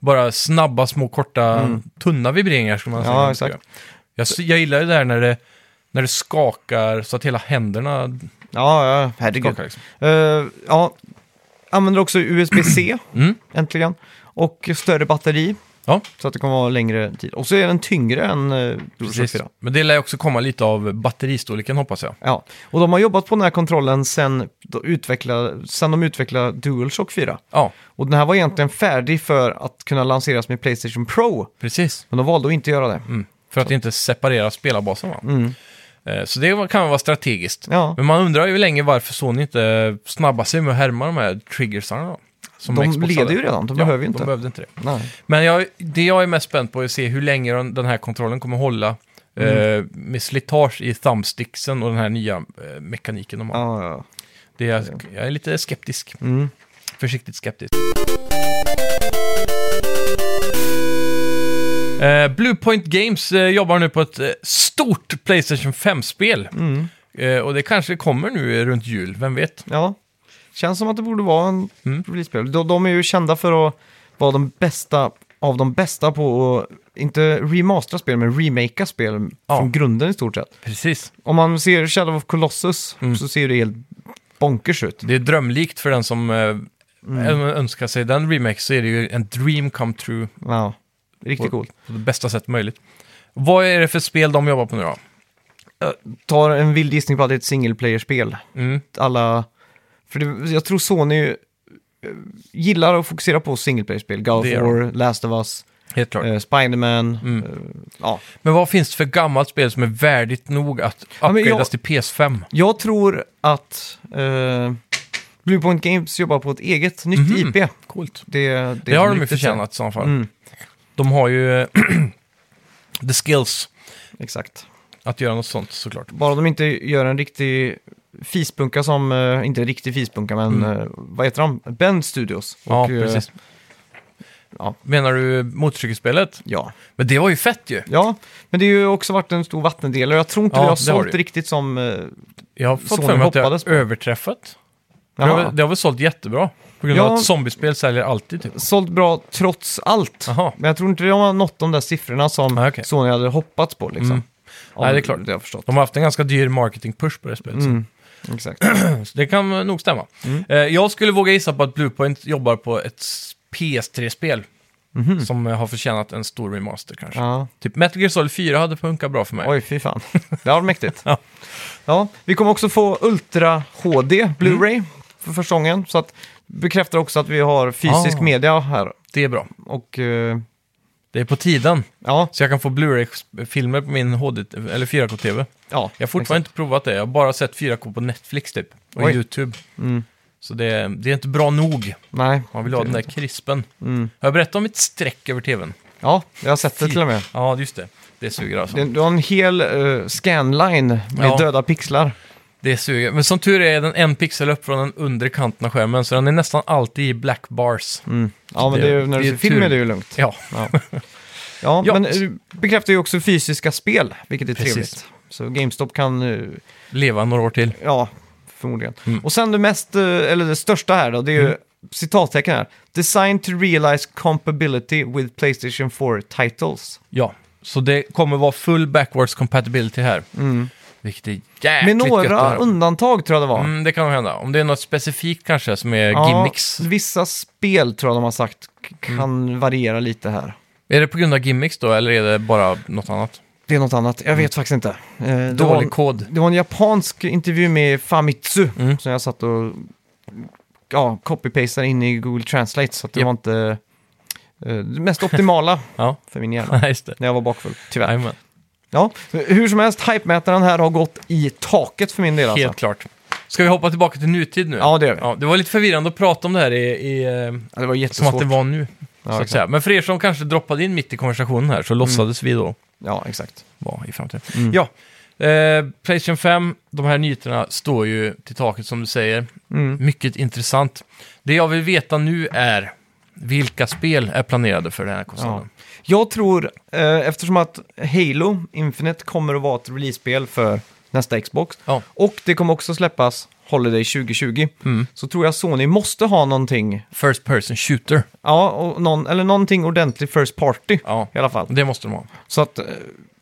[SPEAKER 2] Bara snabba, små, korta, tunna vibreringar skulle man säga.
[SPEAKER 1] Mm. Ja, exakt.
[SPEAKER 2] Jag, jag gillar ju det här när det, när det skakar så att hela händerna
[SPEAKER 1] Ja, ja, herregud.
[SPEAKER 2] skakar. Liksom.
[SPEAKER 1] Eh, ja, använder också USB-C,
[SPEAKER 2] Mm.
[SPEAKER 1] äntligen. Och större batteri,
[SPEAKER 2] Ja,
[SPEAKER 1] så att det kommer vara längre tid. Och så är den tyngre än eh, DualShock
[SPEAKER 2] precis.
[SPEAKER 1] 4.
[SPEAKER 2] Men det lär ju också komma lite av batteristorleken hoppas jag.
[SPEAKER 1] Ja, och de har jobbat på den här kontrollen sen, då utveckla, sen de utvecklade DualShock 4.
[SPEAKER 2] Ja,
[SPEAKER 1] Och den här var egentligen färdig för att kunna lanseras med Playstation Pro,
[SPEAKER 2] precis.
[SPEAKER 1] men de valde att inte göra det.
[SPEAKER 2] Mm. För att inte separera spelarbasen va?
[SPEAKER 1] Mm.
[SPEAKER 2] Eh, Så det var- kan vara strategiskt.
[SPEAKER 1] Ja,
[SPEAKER 2] Men man undrar ju länge varför Sony inte snabbar sig med att härma de här triggersarna då. Som
[SPEAKER 1] de
[SPEAKER 2] Xbox
[SPEAKER 1] leder
[SPEAKER 2] hade.
[SPEAKER 1] ju redan, de
[SPEAKER 2] Ja,
[SPEAKER 1] behöver ju inte.
[SPEAKER 2] De behövde inte det.
[SPEAKER 1] Nej.
[SPEAKER 2] Men jag, det jag är mest spänd på är att se hur länge den den här kontrollen kommer hålla
[SPEAKER 1] Mm.
[SPEAKER 2] eh, med slitage i thumbsticksen och den här nya eh, mekaniken de har.
[SPEAKER 1] Ja, ja.
[SPEAKER 2] Det är, jag är lite skeptisk.
[SPEAKER 1] Mm.
[SPEAKER 2] Försiktigt skeptisk. Eh, Bluepoint Games eh, jobbar nu på ett eh, stort Playstation 5-spel.
[SPEAKER 1] Mm.
[SPEAKER 2] Eh, och det kanske kommer nu eh, runt jul, vem vet?
[SPEAKER 1] ja. Känns som att det borde vara en
[SPEAKER 2] Mm.
[SPEAKER 1] release-spel. De, de är ju kända för att vara de bästa av de bästa på att inte remastera spel, men remakea spel
[SPEAKER 2] Ja.
[SPEAKER 1] från grunden i stort sett.
[SPEAKER 2] Precis.
[SPEAKER 1] Om man ser Shadow of Colossus
[SPEAKER 2] Mm.
[SPEAKER 1] så ser det helt bonkers ut.
[SPEAKER 2] Det är drömlikt för den som eh,
[SPEAKER 1] Mm.
[SPEAKER 2] ö- önskar sig den remake så är det ju en dream come true
[SPEAKER 1] Ja, riktigt
[SPEAKER 2] Och-
[SPEAKER 1] coolt.
[SPEAKER 2] på det bästa sätt möjligt. Vad är det för spel de jobbar på nu då?
[SPEAKER 1] Tar en vild gissning på att det är ett single player-spel.
[SPEAKER 2] Mm.
[SPEAKER 1] Alla... För det, jag tror Sony eh, gillar att fokusera på single player-spel. God of
[SPEAKER 2] Det gör
[SPEAKER 1] War, Last of Us,
[SPEAKER 2] Helt klart.
[SPEAKER 1] eh, Spiderman.
[SPEAKER 2] Mm.
[SPEAKER 1] Eh, ja.
[SPEAKER 2] Men vad finns det för gammalt spel som är värdigt nog att
[SPEAKER 1] men
[SPEAKER 2] upgradas
[SPEAKER 1] jag-
[SPEAKER 2] till PS5?
[SPEAKER 1] Jag tror att eh, Bluepoint Games jobbar på ett eget nytt
[SPEAKER 2] Mhm.
[SPEAKER 1] IP.
[SPEAKER 2] Coolt.
[SPEAKER 1] Det, det,
[SPEAKER 2] Det, har de ju
[SPEAKER 1] ryktet säger.
[SPEAKER 2] förtjänat i så fall.
[SPEAKER 1] Mm,
[SPEAKER 2] De har ju eh, the skills
[SPEAKER 1] exakt.
[SPEAKER 2] att göra något sånt såklart.
[SPEAKER 1] Bara de inte gör en riktig fispunka som, eh, inte riktig fispunka, men
[SPEAKER 2] Mm.
[SPEAKER 1] eh, vad heter de? Bend Studios.
[SPEAKER 2] Ja,
[SPEAKER 1] eh,
[SPEAKER 2] precis.
[SPEAKER 1] ja.
[SPEAKER 2] Menar du motorcykelspelet?
[SPEAKER 1] ja,
[SPEAKER 2] Men det var ju fett ju!
[SPEAKER 1] Ja, men det har ju också varit en stor vattendel och jag tror inte
[SPEAKER 2] Ja,
[SPEAKER 1] vi har
[SPEAKER 2] det har
[SPEAKER 1] sålt
[SPEAKER 2] det ju.
[SPEAKER 1] riktigt som... eh,
[SPEAKER 2] Jag har fått
[SPEAKER 1] Sony
[SPEAKER 2] för mig att det
[SPEAKER 1] hoppades
[SPEAKER 2] har
[SPEAKER 1] på.
[SPEAKER 2] överträffat. Det
[SPEAKER 1] jaha,
[SPEAKER 2] har, det har väl sålt jättebra? På grund av
[SPEAKER 1] Ja.
[SPEAKER 2] att zombiespel säljer alltid typ.
[SPEAKER 1] Sålt bra trots allt.
[SPEAKER 2] Jaha.
[SPEAKER 1] Men jag tror inte de har nått de där siffrorna som
[SPEAKER 2] Ah, okej.
[SPEAKER 1] Sony hade hoppats på. Liksom.
[SPEAKER 2] Mm.
[SPEAKER 1] Om
[SPEAKER 2] Nej, det är klart.
[SPEAKER 1] Det har jag förstått.
[SPEAKER 2] De har haft en ganska dyr marketing-push på det spelet. så-
[SPEAKER 1] Mm. Exakt.
[SPEAKER 2] Så det kan eh, nog stämma. Eh, jag skulle våga gissa på att Bluepoint jobbar på ett s- PS3-spel.
[SPEAKER 1] Mhm.
[SPEAKER 2] Som eh, har förtjänat en stor remaster kanske.
[SPEAKER 1] ja.
[SPEAKER 2] Typ Metal Gear Solid 4 hade funkat bra för mig.
[SPEAKER 1] Oj, fy fan. Det har varit mäktigt.
[SPEAKER 2] Ja.
[SPEAKER 1] Ja, vi kommer också få Ultra HD Blu-ray
[SPEAKER 2] Mm.
[SPEAKER 1] för första gången. Så att bekräftar också att vi har fysisk
[SPEAKER 2] Ah.
[SPEAKER 1] media här.
[SPEAKER 2] Det är bra.
[SPEAKER 1] Och eh,
[SPEAKER 2] Det är på tiden.
[SPEAKER 1] ja,
[SPEAKER 2] Så jag kan få Blu-ray-filmer på min HD, t- eller 4K-TV.
[SPEAKER 1] ja.
[SPEAKER 2] Jag har fortfarande inte provat det. Jag har bara sett 4K på Netflix typ. Och
[SPEAKER 1] Oj.
[SPEAKER 2] YouTube.
[SPEAKER 1] Mm.
[SPEAKER 2] Så det, det är inte bra nog.
[SPEAKER 1] Nej.
[SPEAKER 2] Man vill ha den där krispen.
[SPEAKER 1] Mm.
[SPEAKER 2] Har jag berättat om ett streck över TVn?
[SPEAKER 1] Ja, jag har sett det till och med.
[SPEAKER 2] Ja, just det. Det suger alltså.
[SPEAKER 1] Det, du har en hel eh, scanline med
[SPEAKER 2] Ja.
[SPEAKER 1] döda pixlar.
[SPEAKER 2] Det suger. Men som tur är den en pixel upp från den undre kanten av skärmen, så den är nästan alltid i black bars.
[SPEAKER 1] Mm. Ja, men
[SPEAKER 2] Det-
[SPEAKER 1] det, är ju- när
[SPEAKER 2] det
[SPEAKER 1] du
[SPEAKER 2] är
[SPEAKER 1] ser film
[SPEAKER 2] tur.
[SPEAKER 1] är det ju lugnt.
[SPEAKER 2] Ja,
[SPEAKER 1] Ja, ja,
[SPEAKER 2] Ja.
[SPEAKER 1] men eh, bekräftar ju också fysiska spel, vilket är
[SPEAKER 2] Precis.
[SPEAKER 1] trevligt. Så GameStop kan, eh,
[SPEAKER 2] leva några år till.
[SPEAKER 1] ja, förmodligen.
[SPEAKER 2] Mm.
[SPEAKER 1] Och sen det mest, eh, eller det största här då, det är ju citattecken här. Designed to realize compatibility with Playstation 4 titles.
[SPEAKER 2] Ja, så det kommer vara full backwards compatibility här. Vilket är jäkligt
[SPEAKER 1] Mm. Med
[SPEAKER 2] gött att
[SPEAKER 1] några
[SPEAKER 2] höra.
[SPEAKER 1] undantag tror jag det var.
[SPEAKER 2] mm, Det kan nog hända. Om det är något specifikt kanske som är
[SPEAKER 1] Ja,
[SPEAKER 2] gimmicks. Mm.
[SPEAKER 1] vissa spel tror jag de har sagt k- kan variera lite här.
[SPEAKER 2] Är det på grund av gimmicks då, eller är det bara något annat?
[SPEAKER 1] Det är något annat, jag vet faktiskt inte. Eh, det var
[SPEAKER 2] Mm. Dålig
[SPEAKER 1] en-
[SPEAKER 2] kod.
[SPEAKER 1] Det var en japansk intervju med Famitsu
[SPEAKER 2] Mm.
[SPEAKER 1] som jag satt och ja, copy-pastar in i Google Translate så att det
[SPEAKER 2] Japp.
[SPEAKER 1] var inte eh, det mest optimala
[SPEAKER 2] Ja,
[SPEAKER 1] för min hjärna
[SPEAKER 2] nej, just det.
[SPEAKER 1] när jag var bakfull, tyvärr.
[SPEAKER 2] Jajamän.
[SPEAKER 1] Ja, hur som helst, hypemätaren här har gått i taket för min del
[SPEAKER 2] Helt
[SPEAKER 1] alltså.
[SPEAKER 2] klart. Ska vi hoppa tillbaka till nutid nu?
[SPEAKER 1] Ja, det gör vi.
[SPEAKER 2] Ja, det var lite förvirrande att prata om det här i, i, eh,
[SPEAKER 1] Ja, det var
[SPEAKER 2] som
[SPEAKER 1] jättesvårt.
[SPEAKER 2] att det var nu.
[SPEAKER 1] ja,
[SPEAKER 2] så att
[SPEAKER 1] exakt. Mm.
[SPEAKER 2] säga. Men för er som kanske droppade in mitt i konversationen här så låtsades vi då
[SPEAKER 1] Ja, exakt.
[SPEAKER 2] vara i framtiden.
[SPEAKER 1] Mm.
[SPEAKER 2] Ja, eh, Playstation 5, de här nyheterna står ju till taket som du säger.
[SPEAKER 1] Mm.
[SPEAKER 2] Mycket intressant. Det jag vill veta nu är vilka spel är planerade för den här konsolen?
[SPEAKER 1] Jag tror, eh, eftersom att Halo Infinite kommer att vara ett release-spel för nästa Xbox,
[SPEAKER 2] Ja.
[SPEAKER 1] och det kommer också släppas Holiday 2020,
[SPEAKER 2] Mm.
[SPEAKER 1] så tror jag Sony måste ha någonting,
[SPEAKER 2] First person shooter.
[SPEAKER 1] ja, och någon, eller någonting ordentligt first party
[SPEAKER 2] Ja,
[SPEAKER 1] i alla fall.
[SPEAKER 2] det måste de ha.
[SPEAKER 1] Så att, eh,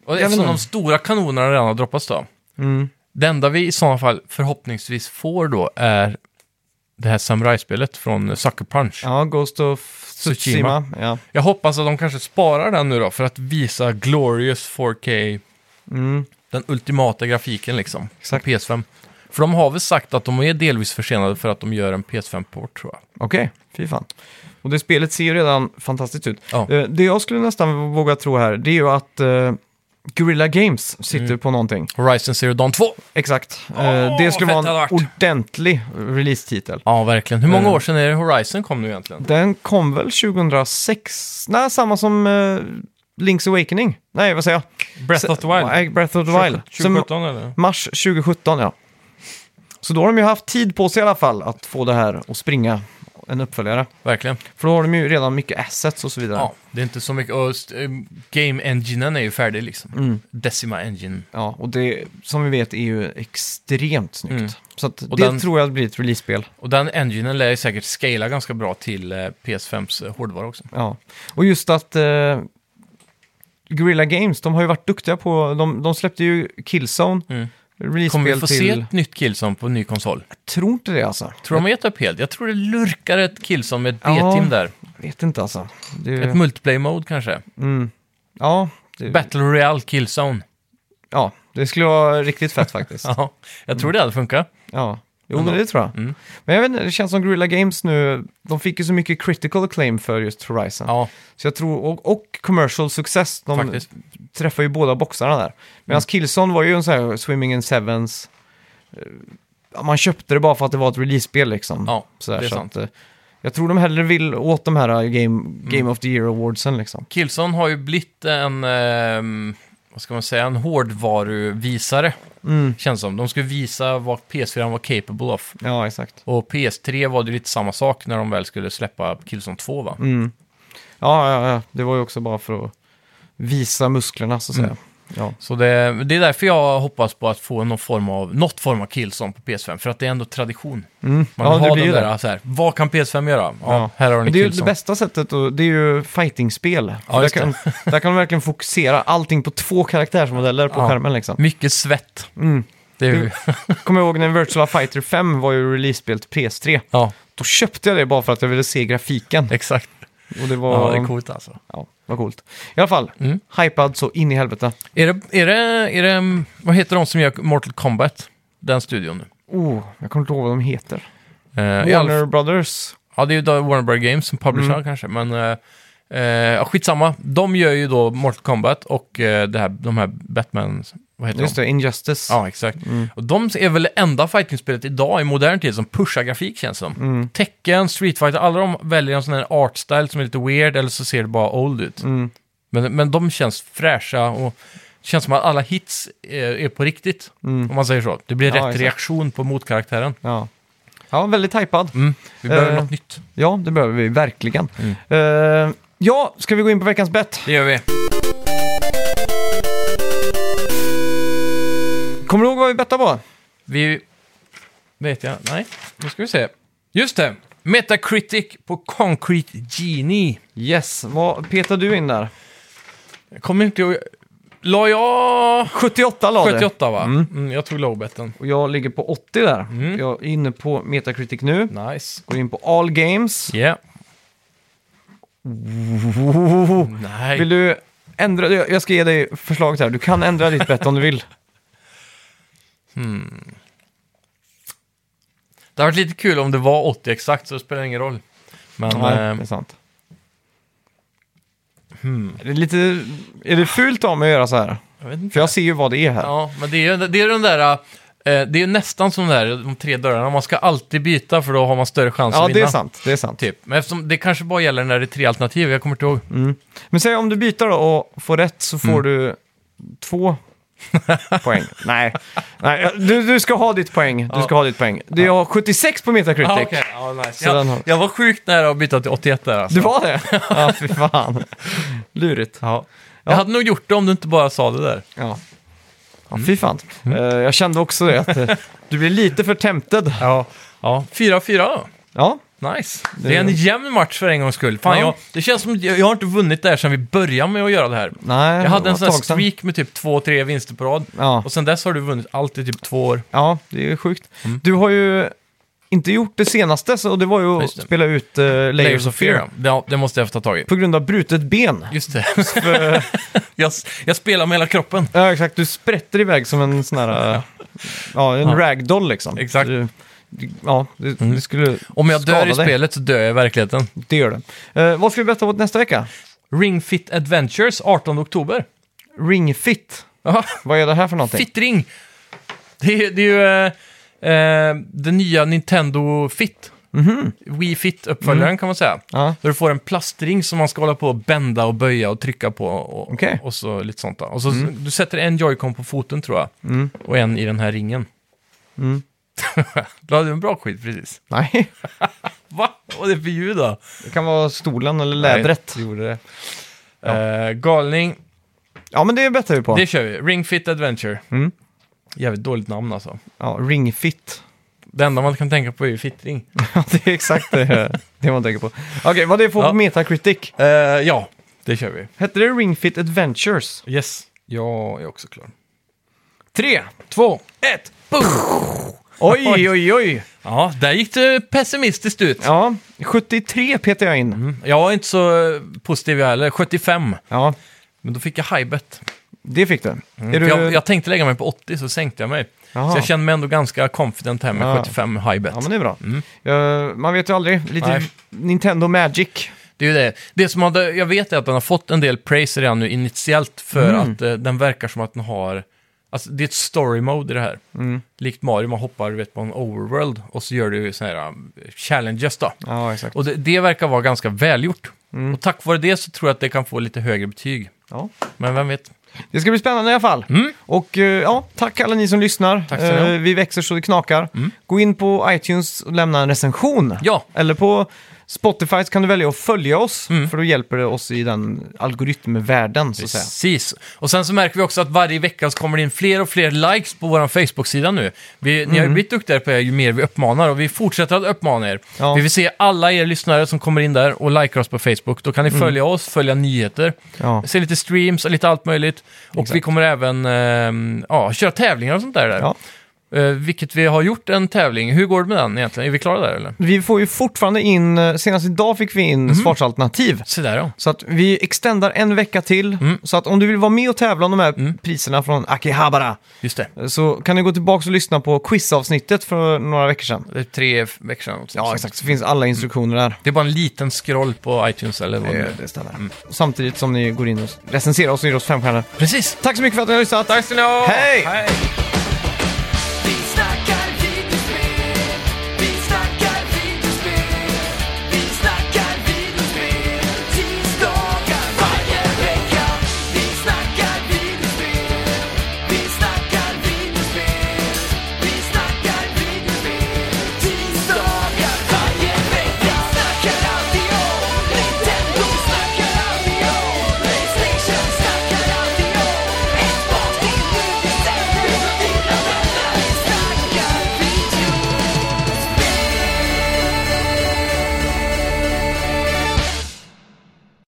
[SPEAKER 2] Och
[SPEAKER 1] vet
[SPEAKER 2] eftersom
[SPEAKER 1] inte.
[SPEAKER 2] de stora kanonerna redan har droppats då.
[SPEAKER 1] mm,
[SPEAKER 2] Det enda vi i sådana fall förhoppningsvis får då är det här samurajspelet från Sucker Punch.
[SPEAKER 1] ja, Ghost of
[SPEAKER 2] Tsushima.
[SPEAKER 1] Tsushima, ja.
[SPEAKER 2] Jag hoppas att de kanske sparar den nu då för att visa Glorious 4K,
[SPEAKER 1] Mm,
[SPEAKER 2] den ultimata grafiken liksom.
[SPEAKER 1] Exakt.
[SPEAKER 2] På PS5. För de har väl sagt att de är delvis försenade för att de gör en PS5-port tror jag.
[SPEAKER 1] Okej, fy fan. Och det spelet ser ju redan fantastiskt ut.
[SPEAKER 2] Ja.
[SPEAKER 1] Eh, Det jag skulle nästan våga tro här, det är ju att eh, Guerrilla Games sitter på någonting.
[SPEAKER 2] Horizon Zero Dawn 2!
[SPEAKER 1] Exakt. Eh,
[SPEAKER 2] Mm. Åh,
[SPEAKER 1] det skulle
[SPEAKER 2] fett hade
[SPEAKER 1] vara
[SPEAKER 2] varit.
[SPEAKER 1] en ordentlig release-titel.
[SPEAKER 2] Ja, verkligen. Hur många
[SPEAKER 1] Mm.
[SPEAKER 2] år sedan är det Horizon kom nu egentligen?
[SPEAKER 1] Den kom väl 2006? Nej, samma som eh, Link's Awakening. Nej, vad säger jag?
[SPEAKER 2] Breath of the Wild?
[SPEAKER 1] Nej, Breath of the Wild. Som
[SPEAKER 2] 2017 eller?
[SPEAKER 1] mars 2017, ja. Så då har de ju haft tid på sig i alla fall att få det här att springa en uppföljare.
[SPEAKER 2] Verkligen.
[SPEAKER 1] För då har de ju redan mycket assets och så vidare.
[SPEAKER 2] Ja, det är inte så mycket. Och st- eh, game-enginen är ju färdig liksom. Decima Engine.
[SPEAKER 1] Ja, och det som vi vet är ju extremt snyggt.
[SPEAKER 2] Mm.
[SPEAKER 1] Så att
[SPEAKER 2] Och
[SPEAKER 1] det
[SPEAKER 2] den-
[SPEAKER 1] tror jag blir ett release-spel.
[SPEAKER 2] Och den enginen lär ju säkert scala ganska bra till eh, PS5s eh, hårdvara också.
[SPEAKER 1] Ja. Och just att eh, Guerrilla Games, de har ju varit duktiga på, de, de släppte ju Killzone,
[SPEAKER 2] Mm. Kommer vi
[SPEAKER 1] release-spel
[SPEAKER 2] få se
[SPEAKER 1] till...
[SPEAKER 2] ett nytt Killzone på en ny konsol?
[SPEAKER 1] Jag tror inte det alltså.
[SPEAKER 2] Tror de har gett upp helt? Jag tror det lurkar ett Killzone med ett
[SPEAKER 1] Ja.
[SPEAKER 2] B-team där.
[SPEAKER 1] Jag vet inte alltså. Det,
[SPEAKER 2] Ett multiplayer-mode kanske.
[SPEAKER 1] mm. Ja, det,
[SPEAKER 2] Battle Royale Killzone.
[SPEAKER 1] ja, det skulle vara riktigt fett faktiskt.
[SPEAKER 2] Ja, jag tror det hade funkat.
[SPEAKER 1] Ja, jo,
[SPEAKER 2] Ändå.
[SPEAKER 1] men det tror jag.
[SPEAKER 2] Mm.
[SPEAKER 1] Men jag vet inte, det känns som Guerrilla Games nu, de fick ju så mycket critical acclaim för just Horizon.
[SPEAKER 2] Ja,
[SPEAKER 1] Så jag tror, och, och commercial success, de
[SPEAKER 2] faktiskt.
[SPEAKER 1] träffar ju båda boxarna där. Medan
[SPEAKER 2] Mm.
[SPEAKER 1] Killzone var ju en sån här Swimming in Sevens, eh, ja, man köpte det bara för att det var ett release-spel liksom.
[SPEAKER 2] Ja,
[SPEAKER 1] så där,
[SPEAKER 2] det är
[SPEAKER 1] så
[SPEAKER 2] sant. Mm.
[SPEAKER 1] Att, eh, jag tror de hellre vill åt de här eh, Game, game of the Year-awardsen liksom.
[SPEAKER 2] Killzone har ju blivit en, ehm, vad ska man säga, en hårdvaruvisare.
[SPEAKER 1] Mm.
[SPEAKER 2] Känns som. De skulle visa vad PS4 var capable of.
[SPEAKER 1] Ja, exakt.
[SPEAKER 2] Och PS3 var det lite samma sak när de väl skulle släppa Killzone 2 va?
[SPEAKER 1] Mm. Ja, ja, ja, det var ju också bara för att visa musklerna så att säga.
[SPEAKER 2] Mm.
[SPEAKER 1] Ja.
[SPEAKER 2] Så det, det är därför jag hoppas på att få någon form av, något form av Killzone på PS5. För att det är ändå tradition.
[SPEAKER 1] Mm.
[SPEAKER 2] Man
[SPEAKER 1] ja,
[SPEAKER 2] har
[SPEAKER 1] blir
[SPEAKER 2] den
[SPEAKER 1] ju
[SPEAKER 2] där, så här, vad kan PS5 göra? Ja,
[SPEAKER 1] Ja.
[SPEAKER 2] här har
[SPEAKER 1] Och
[SPEAKER 2] ni
[SPEAKER 1] Det är ju det
[SPEAKER 2] Killzone.
[SPEAKER 1] bästa sättet, och det är ju fightingspel.
[SPEAKER 2] Ja,
[SPEAKER 1] där,
[SPEAKER 2] just
[SPEAKER 1] kan, där kan man verkligen fokusera allting på två karaktärsmodeller på
[SPEAKER 2] Ja.
[SPEAKER 1] skärmen liksom.
[SPEAKER 2] Mycket svett.
[SPEAKER 1] Mm.
[SPEAKER 2] Det är ju,
[SPEAKER 1] Kommer jag ihåg när Virtual Fighter 5 var ju release-spel till PS3.
[SPEAKER 2] ja,
[SPEAKER 1] Då köpte jag det bara för att jag ville se grafiken.
[SPEAKER 2] exakt.
[SPEAKER 1] Och det var,
[SPEAKER 2] Ja, det är coolt alltså.
[SPEAKER 1] ja, var coolt. I alla fall,
[SPEAKER 2] Mm.
[SPEAKER 1] hypad så in i helvete.
[SPEAKER 2] Är det, är, det, är det, vad heter de som gör Mortal Kombat? Den studion nu.
[SPEAKER 1] Oh, jag kommer inte ihåg vad de heter.
[SPEAKER 2] Eh, i alla-
[SPEAKER 1] Warner Brothers.
[SPEAKER 2] Ja, det är ju då Warner Bros Games som publicerar kanske, men eh, eh, ja, skitsamma. De gör ju då Mortal Kombat och eh, det här, de här Batman, vad heter
[SPEAKER 1] Just
[SPEAKER 2] de?
[SPEAKER 1] det, Injustice.
[SPEAKER 2] Ja, exakt. Och de är väl det enda fightingspelet idag i modern tid som pushar grafik känns som.
[SPEAKER 1] Mm,
[SPEAKER 2] Tekken, Street Fighter, alla de väljer en sån här art style som är lite weird eller så ser det bara old ut.
[SPEAKER 1] Mm.
[SPEAKER 2] Men, men de känns fräscha och det känns som att alla hits är, är på riktigt. Om man säger så. Det blir
[SPEAKER 1] Ja,
[SPEAKER 2] rätt
[SPEAKER 1] exakt.
[SPEAKER 2] reaktion på motkaraktären.
[SPEAKER 1] mm. Ja. ja, väldigt hypad.
[SPEAKER 2] Mm. Vi behöver
[SPEAKER 1] Eh.
[SPEAKER 2] något nytt.
[SPEAKER 1] Ja, det behöver vi verkligen.
[SPEAKER 2] Mm.
[SPEAKER 1] Eh, ja, ska vi gå in på veckans bett?
[SPEAKER 2] Det gör vi.
[SPEAKER 1] Kommer du ihåg vad vi bettade på?
[SPEAKER 2] Vi... Vet jag? Nej. Nu ska vi se. Just det! Metacritic på Concrete Genie.
[SPEAKER 1] Yes, vad petade du in där?
[SPEAKER 2] Jag kommer inte ihåg... La jag...
[SPEAKER 1] 78 la du.
[SPEAKER 2] 78 va? Mm. jag tog lowbetten.
[SPEAKER 1] Och jag ligger på 80 där.
[SPEAKER 2] Mm.
[SPEAKER 1] Jag är inne på Metacritic nu.
[SPEAKER 2] Nice.
[SPEAKER 1] Går in på All Games.
[SPEAKER 2] Yeah.
[SPEAKER 1] Ohohoho.
[SPEAKER 2] Nej.
[SPEAKER 1] Vill du ändra? Jag jag ska ge dig förslaget här. Du kan ändra ditt bett om du vill.
[SPEAKER 2] Det hade varit lite kul om det var 80 exakt, så det spelar ingen roll. Men
[SPEAKER 1] Nej, det
[SPEAKER 2] eh,
[SPEAKER 1] är sant.
[SPEAKER 2] Hmm.
[SPEAKER 1] Är det lite... Är det fult av mig att göra så här?
[SPEAKER 2] jag vet inte.
[SPEAKER 1] För jag ser ju vad det är här.
[SPEAKER 2] Ja, men det är ju det är den där... eh, Det är ju nästan som den där, de tre dörrarna. Man ska alltid byta för då har man större chans
[SPEAKER 1] Ja,
[SPEAKER 2] att vinna.
[SPEAKER 1] det är sant. Det är sant.
[SPEAKER 2] Typ. Men eftersom det kanske bara gäller när det är tre alternativ, jag kommer inte ihåg.
[SPEAKER 1] Men säg om du byter då och får rätt så får
[SPEAKER 2] Mm.
[SPEAKER 1] du två poäng. Nej, Nej du, du ska ha ditt poäng. Du
[SPEAKER 2] Ja.
[SPEAKER 1] ska ha ditt poäng. Du har 76 på Metacritic.
[SPEAKER 2] Ja, okej. Ja, nice.
[SPEAKER 1] Så den har-
[SPEAKER 2] jag, jag var sjukt nära att byta till 81 där alltså.
[SPEAKER 1] Du var det? Ja, fy fan. Lurigt.
[SPEAKER 2] Ja. Jag hade nog gjort det om du inte bara sa det där.
[SPEAKER 1] Ja. Ja, fy fan. Eh, jag kände också det, att eh, du blir lite för tempted.
[SPEAKER 2] Ja. ja. 4-4 då.
[SPEAKER 1] Ja,
[SPEAKER 2] Nice. Det är en jämn match för en gångs skull. Fan,
[SPEAKER 1] Ja.
[SPEAKER 2] jag, det känns som att jag, jag har inte vunnit det här sedan vi började med att göra det här.
[SPEAKER 1] nej. det
[SPEAKER 2] Jag hade
[SPEAKER 1] var
[SPEAKER 2] en
[SPEAKER 1] ett
[SPEAKER 2] sån här
[SPEAKER 1] tag sedan.
[SPEAKER 2] streak med typ två, tre vinster på rad.
[SPEAKER 1] Ja.
[SPEAKER 2] Och sen dess har du vunnit allt i typ två år.
[SPEAKER 1] ja, det är sjukt. Du har ju inte gjort det senaste, så det var ju att
[SPEAKER 2] Just det.
[SPEAKER 1] spela ut eh, Layers, of Fear.
[SPEAKER 2] Ja, det måste jag få ta tag i.
[SPEAKER 1] På grund av brutet ben.
[SPEAKER 2] Just det. jag, jag spelar med hela kroppen.
[SPEAKER 1] Ja, exakt. Du sprätter iväg som en sån här... eh, ja, en
[SPEAKER 2] Ja.
[SPEAKER 1] ragdoll liksom.
[SPEAKER 2] Exakt.
[SPEAKER 1] Du, du- ja, du, du skulle
[SPEAKER 2] Om jag dör
[SPEAKER 1] skada
[SPEAKER 2] i
[SPEAKER 1] dig.
[SPEAKER 2] spelet så dör jag i verkligheten.
[SPEAKER 1] Det gör det. Eh, vad ska vi betta på nästa vecka?
[SPEAKER 2] Ring Fit Adventures 18 oktober.
[SPEAKER 1] Ring fit.
[SPEAKER 2] Jaha,
[SPEAKER 1] Vad är det här för någonting?
[SPEAKER 2] Fit Ring! Det är, det är ju eh, eh, den nya Nintendo Fit.
[SPEAKER 1] Mhm.
[SPEAKER 2] Wii Fit-uppföljaren
[SPEAKER 1] Mm.
[SPEAKER 2] kan man säga.
[SPEAKER 1] Ja.
[SPEAKER 2] Så du får en plastring som man ska hålla på och bända och böja och trycka på och,
[SPEAKER 1] Okej. Mm.
[SPEAKER 2] och så lite sånt. Då. Och så du sätter en joycon på foten tror jag och en i den här ringen.
[SPEAKER 1] Mm.
[SPEAKER 2] du hade en bra skit precis.
[SPEAKER 1] Nej,
[SPEAKER 2] Va? Vad är det för ljud då?
[SPEAKER 1] det kan vara stolen eller lädret.
[SPEAKER 2] Nej, det gjorde det. Eh, galning,
[SPEAKER 1] Ja, men det bettar vi på.
[SPEAKER 2] det kör vi. Ring Fit Adventure.
[SPEAKER 1] Mm.
[SPEAKER 2] Jävligt dåligt namn alltså.
[SPEAKER 1] Ja, ring fit.
[SPEAKER 2] Det enda man kan tänka på är ju fittring.
[SPEAKER 1] Ja, det är exakt det, det man tänker på. Okej, vad det får
[SPEAKER 2] Ja.
[SPEAKER 1] på Metacritic?
[SPEAKER 2] Eh, ja, det kör vi.
[SPEAKER 1] Hette det Ring Fit Adventures?
[SPEAKER 2] Yes. Jag är också klar.
[SPEAKER 1] Tre,
[SPEAKER 2] Två.
[SPEAKER 1] ett, Oj, oj, oj!
[SPEAKER 2] Ja, där gick det pessimistiskt ut.
[SPEAKER 1] Ja, 73 petar jag in.
[SPEAKER 2] Jag är inte så eh, positiv jag heller. 75.
[SPEAKER 1] Ja,
[SPEAKER 2] Men då fick jag hajbet.
[SPEAKER 1] det fick du. Är
[SPEAKER 2] För
[SPEAKER 1] du...
[SPEAKER 2] Mm. Jag, jag tänkte lägga mig på 80, så sänkte jag mig.
[SPEAKER 1] Jaha.
[SPEAKER 2] Så jag kände mig ändå ganska confident här med
[SPEAKER 1] Ja.
[SPEAKER 2] 75 hajbet.
[SPEAKER 1] Ja, men det är bra. Eh, man vet ju aldrig. Lite
[SPEAKER 2] Mm. Nej.
[SPEAKER 1] Nintendo Magic.
[SPEAKER 2] Det är ju det. Det som hade, jag vet är att den har fått en del praise redan nu initiellt för att eh, den verkar som att den har... Alltså det är ett story mode i det här. Likt Mario, man hoppar du vet, på en overworld och så gör du sådana här um, challenges då.
[SPEAKER 1] Ja, exakt.
[SPEAKER 2] Och det, det verkar vara ganska välgjort. Och tack vare det så tror jag att det kan få lite högre betyg.
[SPEAKER 1] Ja.
[SPEAKER 2] Men vem vet?
[SPEAKER 1] Det ska bli spännande i alla fall. Och eh, ja, tack alla ni som lyssnar.
[SPEAKER 2] Mm. Tack ska ni ha. Mm.
[SPEAKER 1] Eh, vi växer så det knakar. Gå in på iTunes och lämna en recension.
[SPEAKER 2] Ja.
[SPEAKER 1] Eller på Spotify så kan du välja att följa oss,
[SPEAKER 2] Mm.
[SPEAKER 1] för då hjälper det oss i den algoritmvärlden, så att säga.
[SPEAKER 2] Precis. Och sen så märker vi också att varje vecka så kommer det in fler och fler likes på vår Facebook-sida nu. Vi, Ni
[SPEAKER 1] Mm.
[SPEAKER 2] har ju blivit duktigare på det ju mer vi uppmanar och vi fortsätter att uppmana er.
[SPEAKER 1] Ja.
[SPEAKER 2] Vi vill se alla er lyssnare som kommer in där och likar oss på Facebook. Då kan ni följa oss, följa nyheter,
[SPEAKER 1] Mm. Ja.
[SPEAKER 2] se lite streams och lite allt möjligt. Och vi kommer även ehm, ja, köra tävlingar och sånt där. där.
[SPEAKER 1] Ja.
[SPEAKER 2] Eh, vilket vi har gjort en tävling. Hur går det med den egentligen? Är vi klara där eller?
[SPEAKER 1] Vi får ju fortfarande in, eh, senast idag fick vi
[SPEAKER 2] Mm.
[SPEAKER 1] in svarsalternativ.
[SPEAKER 2] Se där ja.
[SPEAKER 1] Så att vi extendar en vecka till.
[SPEAKER 2] Mm.
[SPEAKER 1] Så att om du vill vara med och tävla om de här priserna från Akihabara,
[SPEAKER 2] Just det.
[SPEAKER 1] så kan ni gå tillbaka och lyssna på quizavsnittet för några veckor sedan.
[SPEAKER 2] Det är tre veckor sedan. också.
[SPEAKER 1] Ja, exakt. Så finns alla instruktioner där.
[SPEAKER 2] Det är bara en liten scroll på iTunes eller vad det är.
[SPEAKER 1] Det stämmer. Eh, mm. Samtidigt som ni går in och recenserar oss och ger oss fem stjärnor.
[SPEAKER 2] Precis.
[SPEAKER 1] Tack så mycket för att ni har lyssnat. Tack ska ni ha. Hej!
[SPEAKER 2] Hej!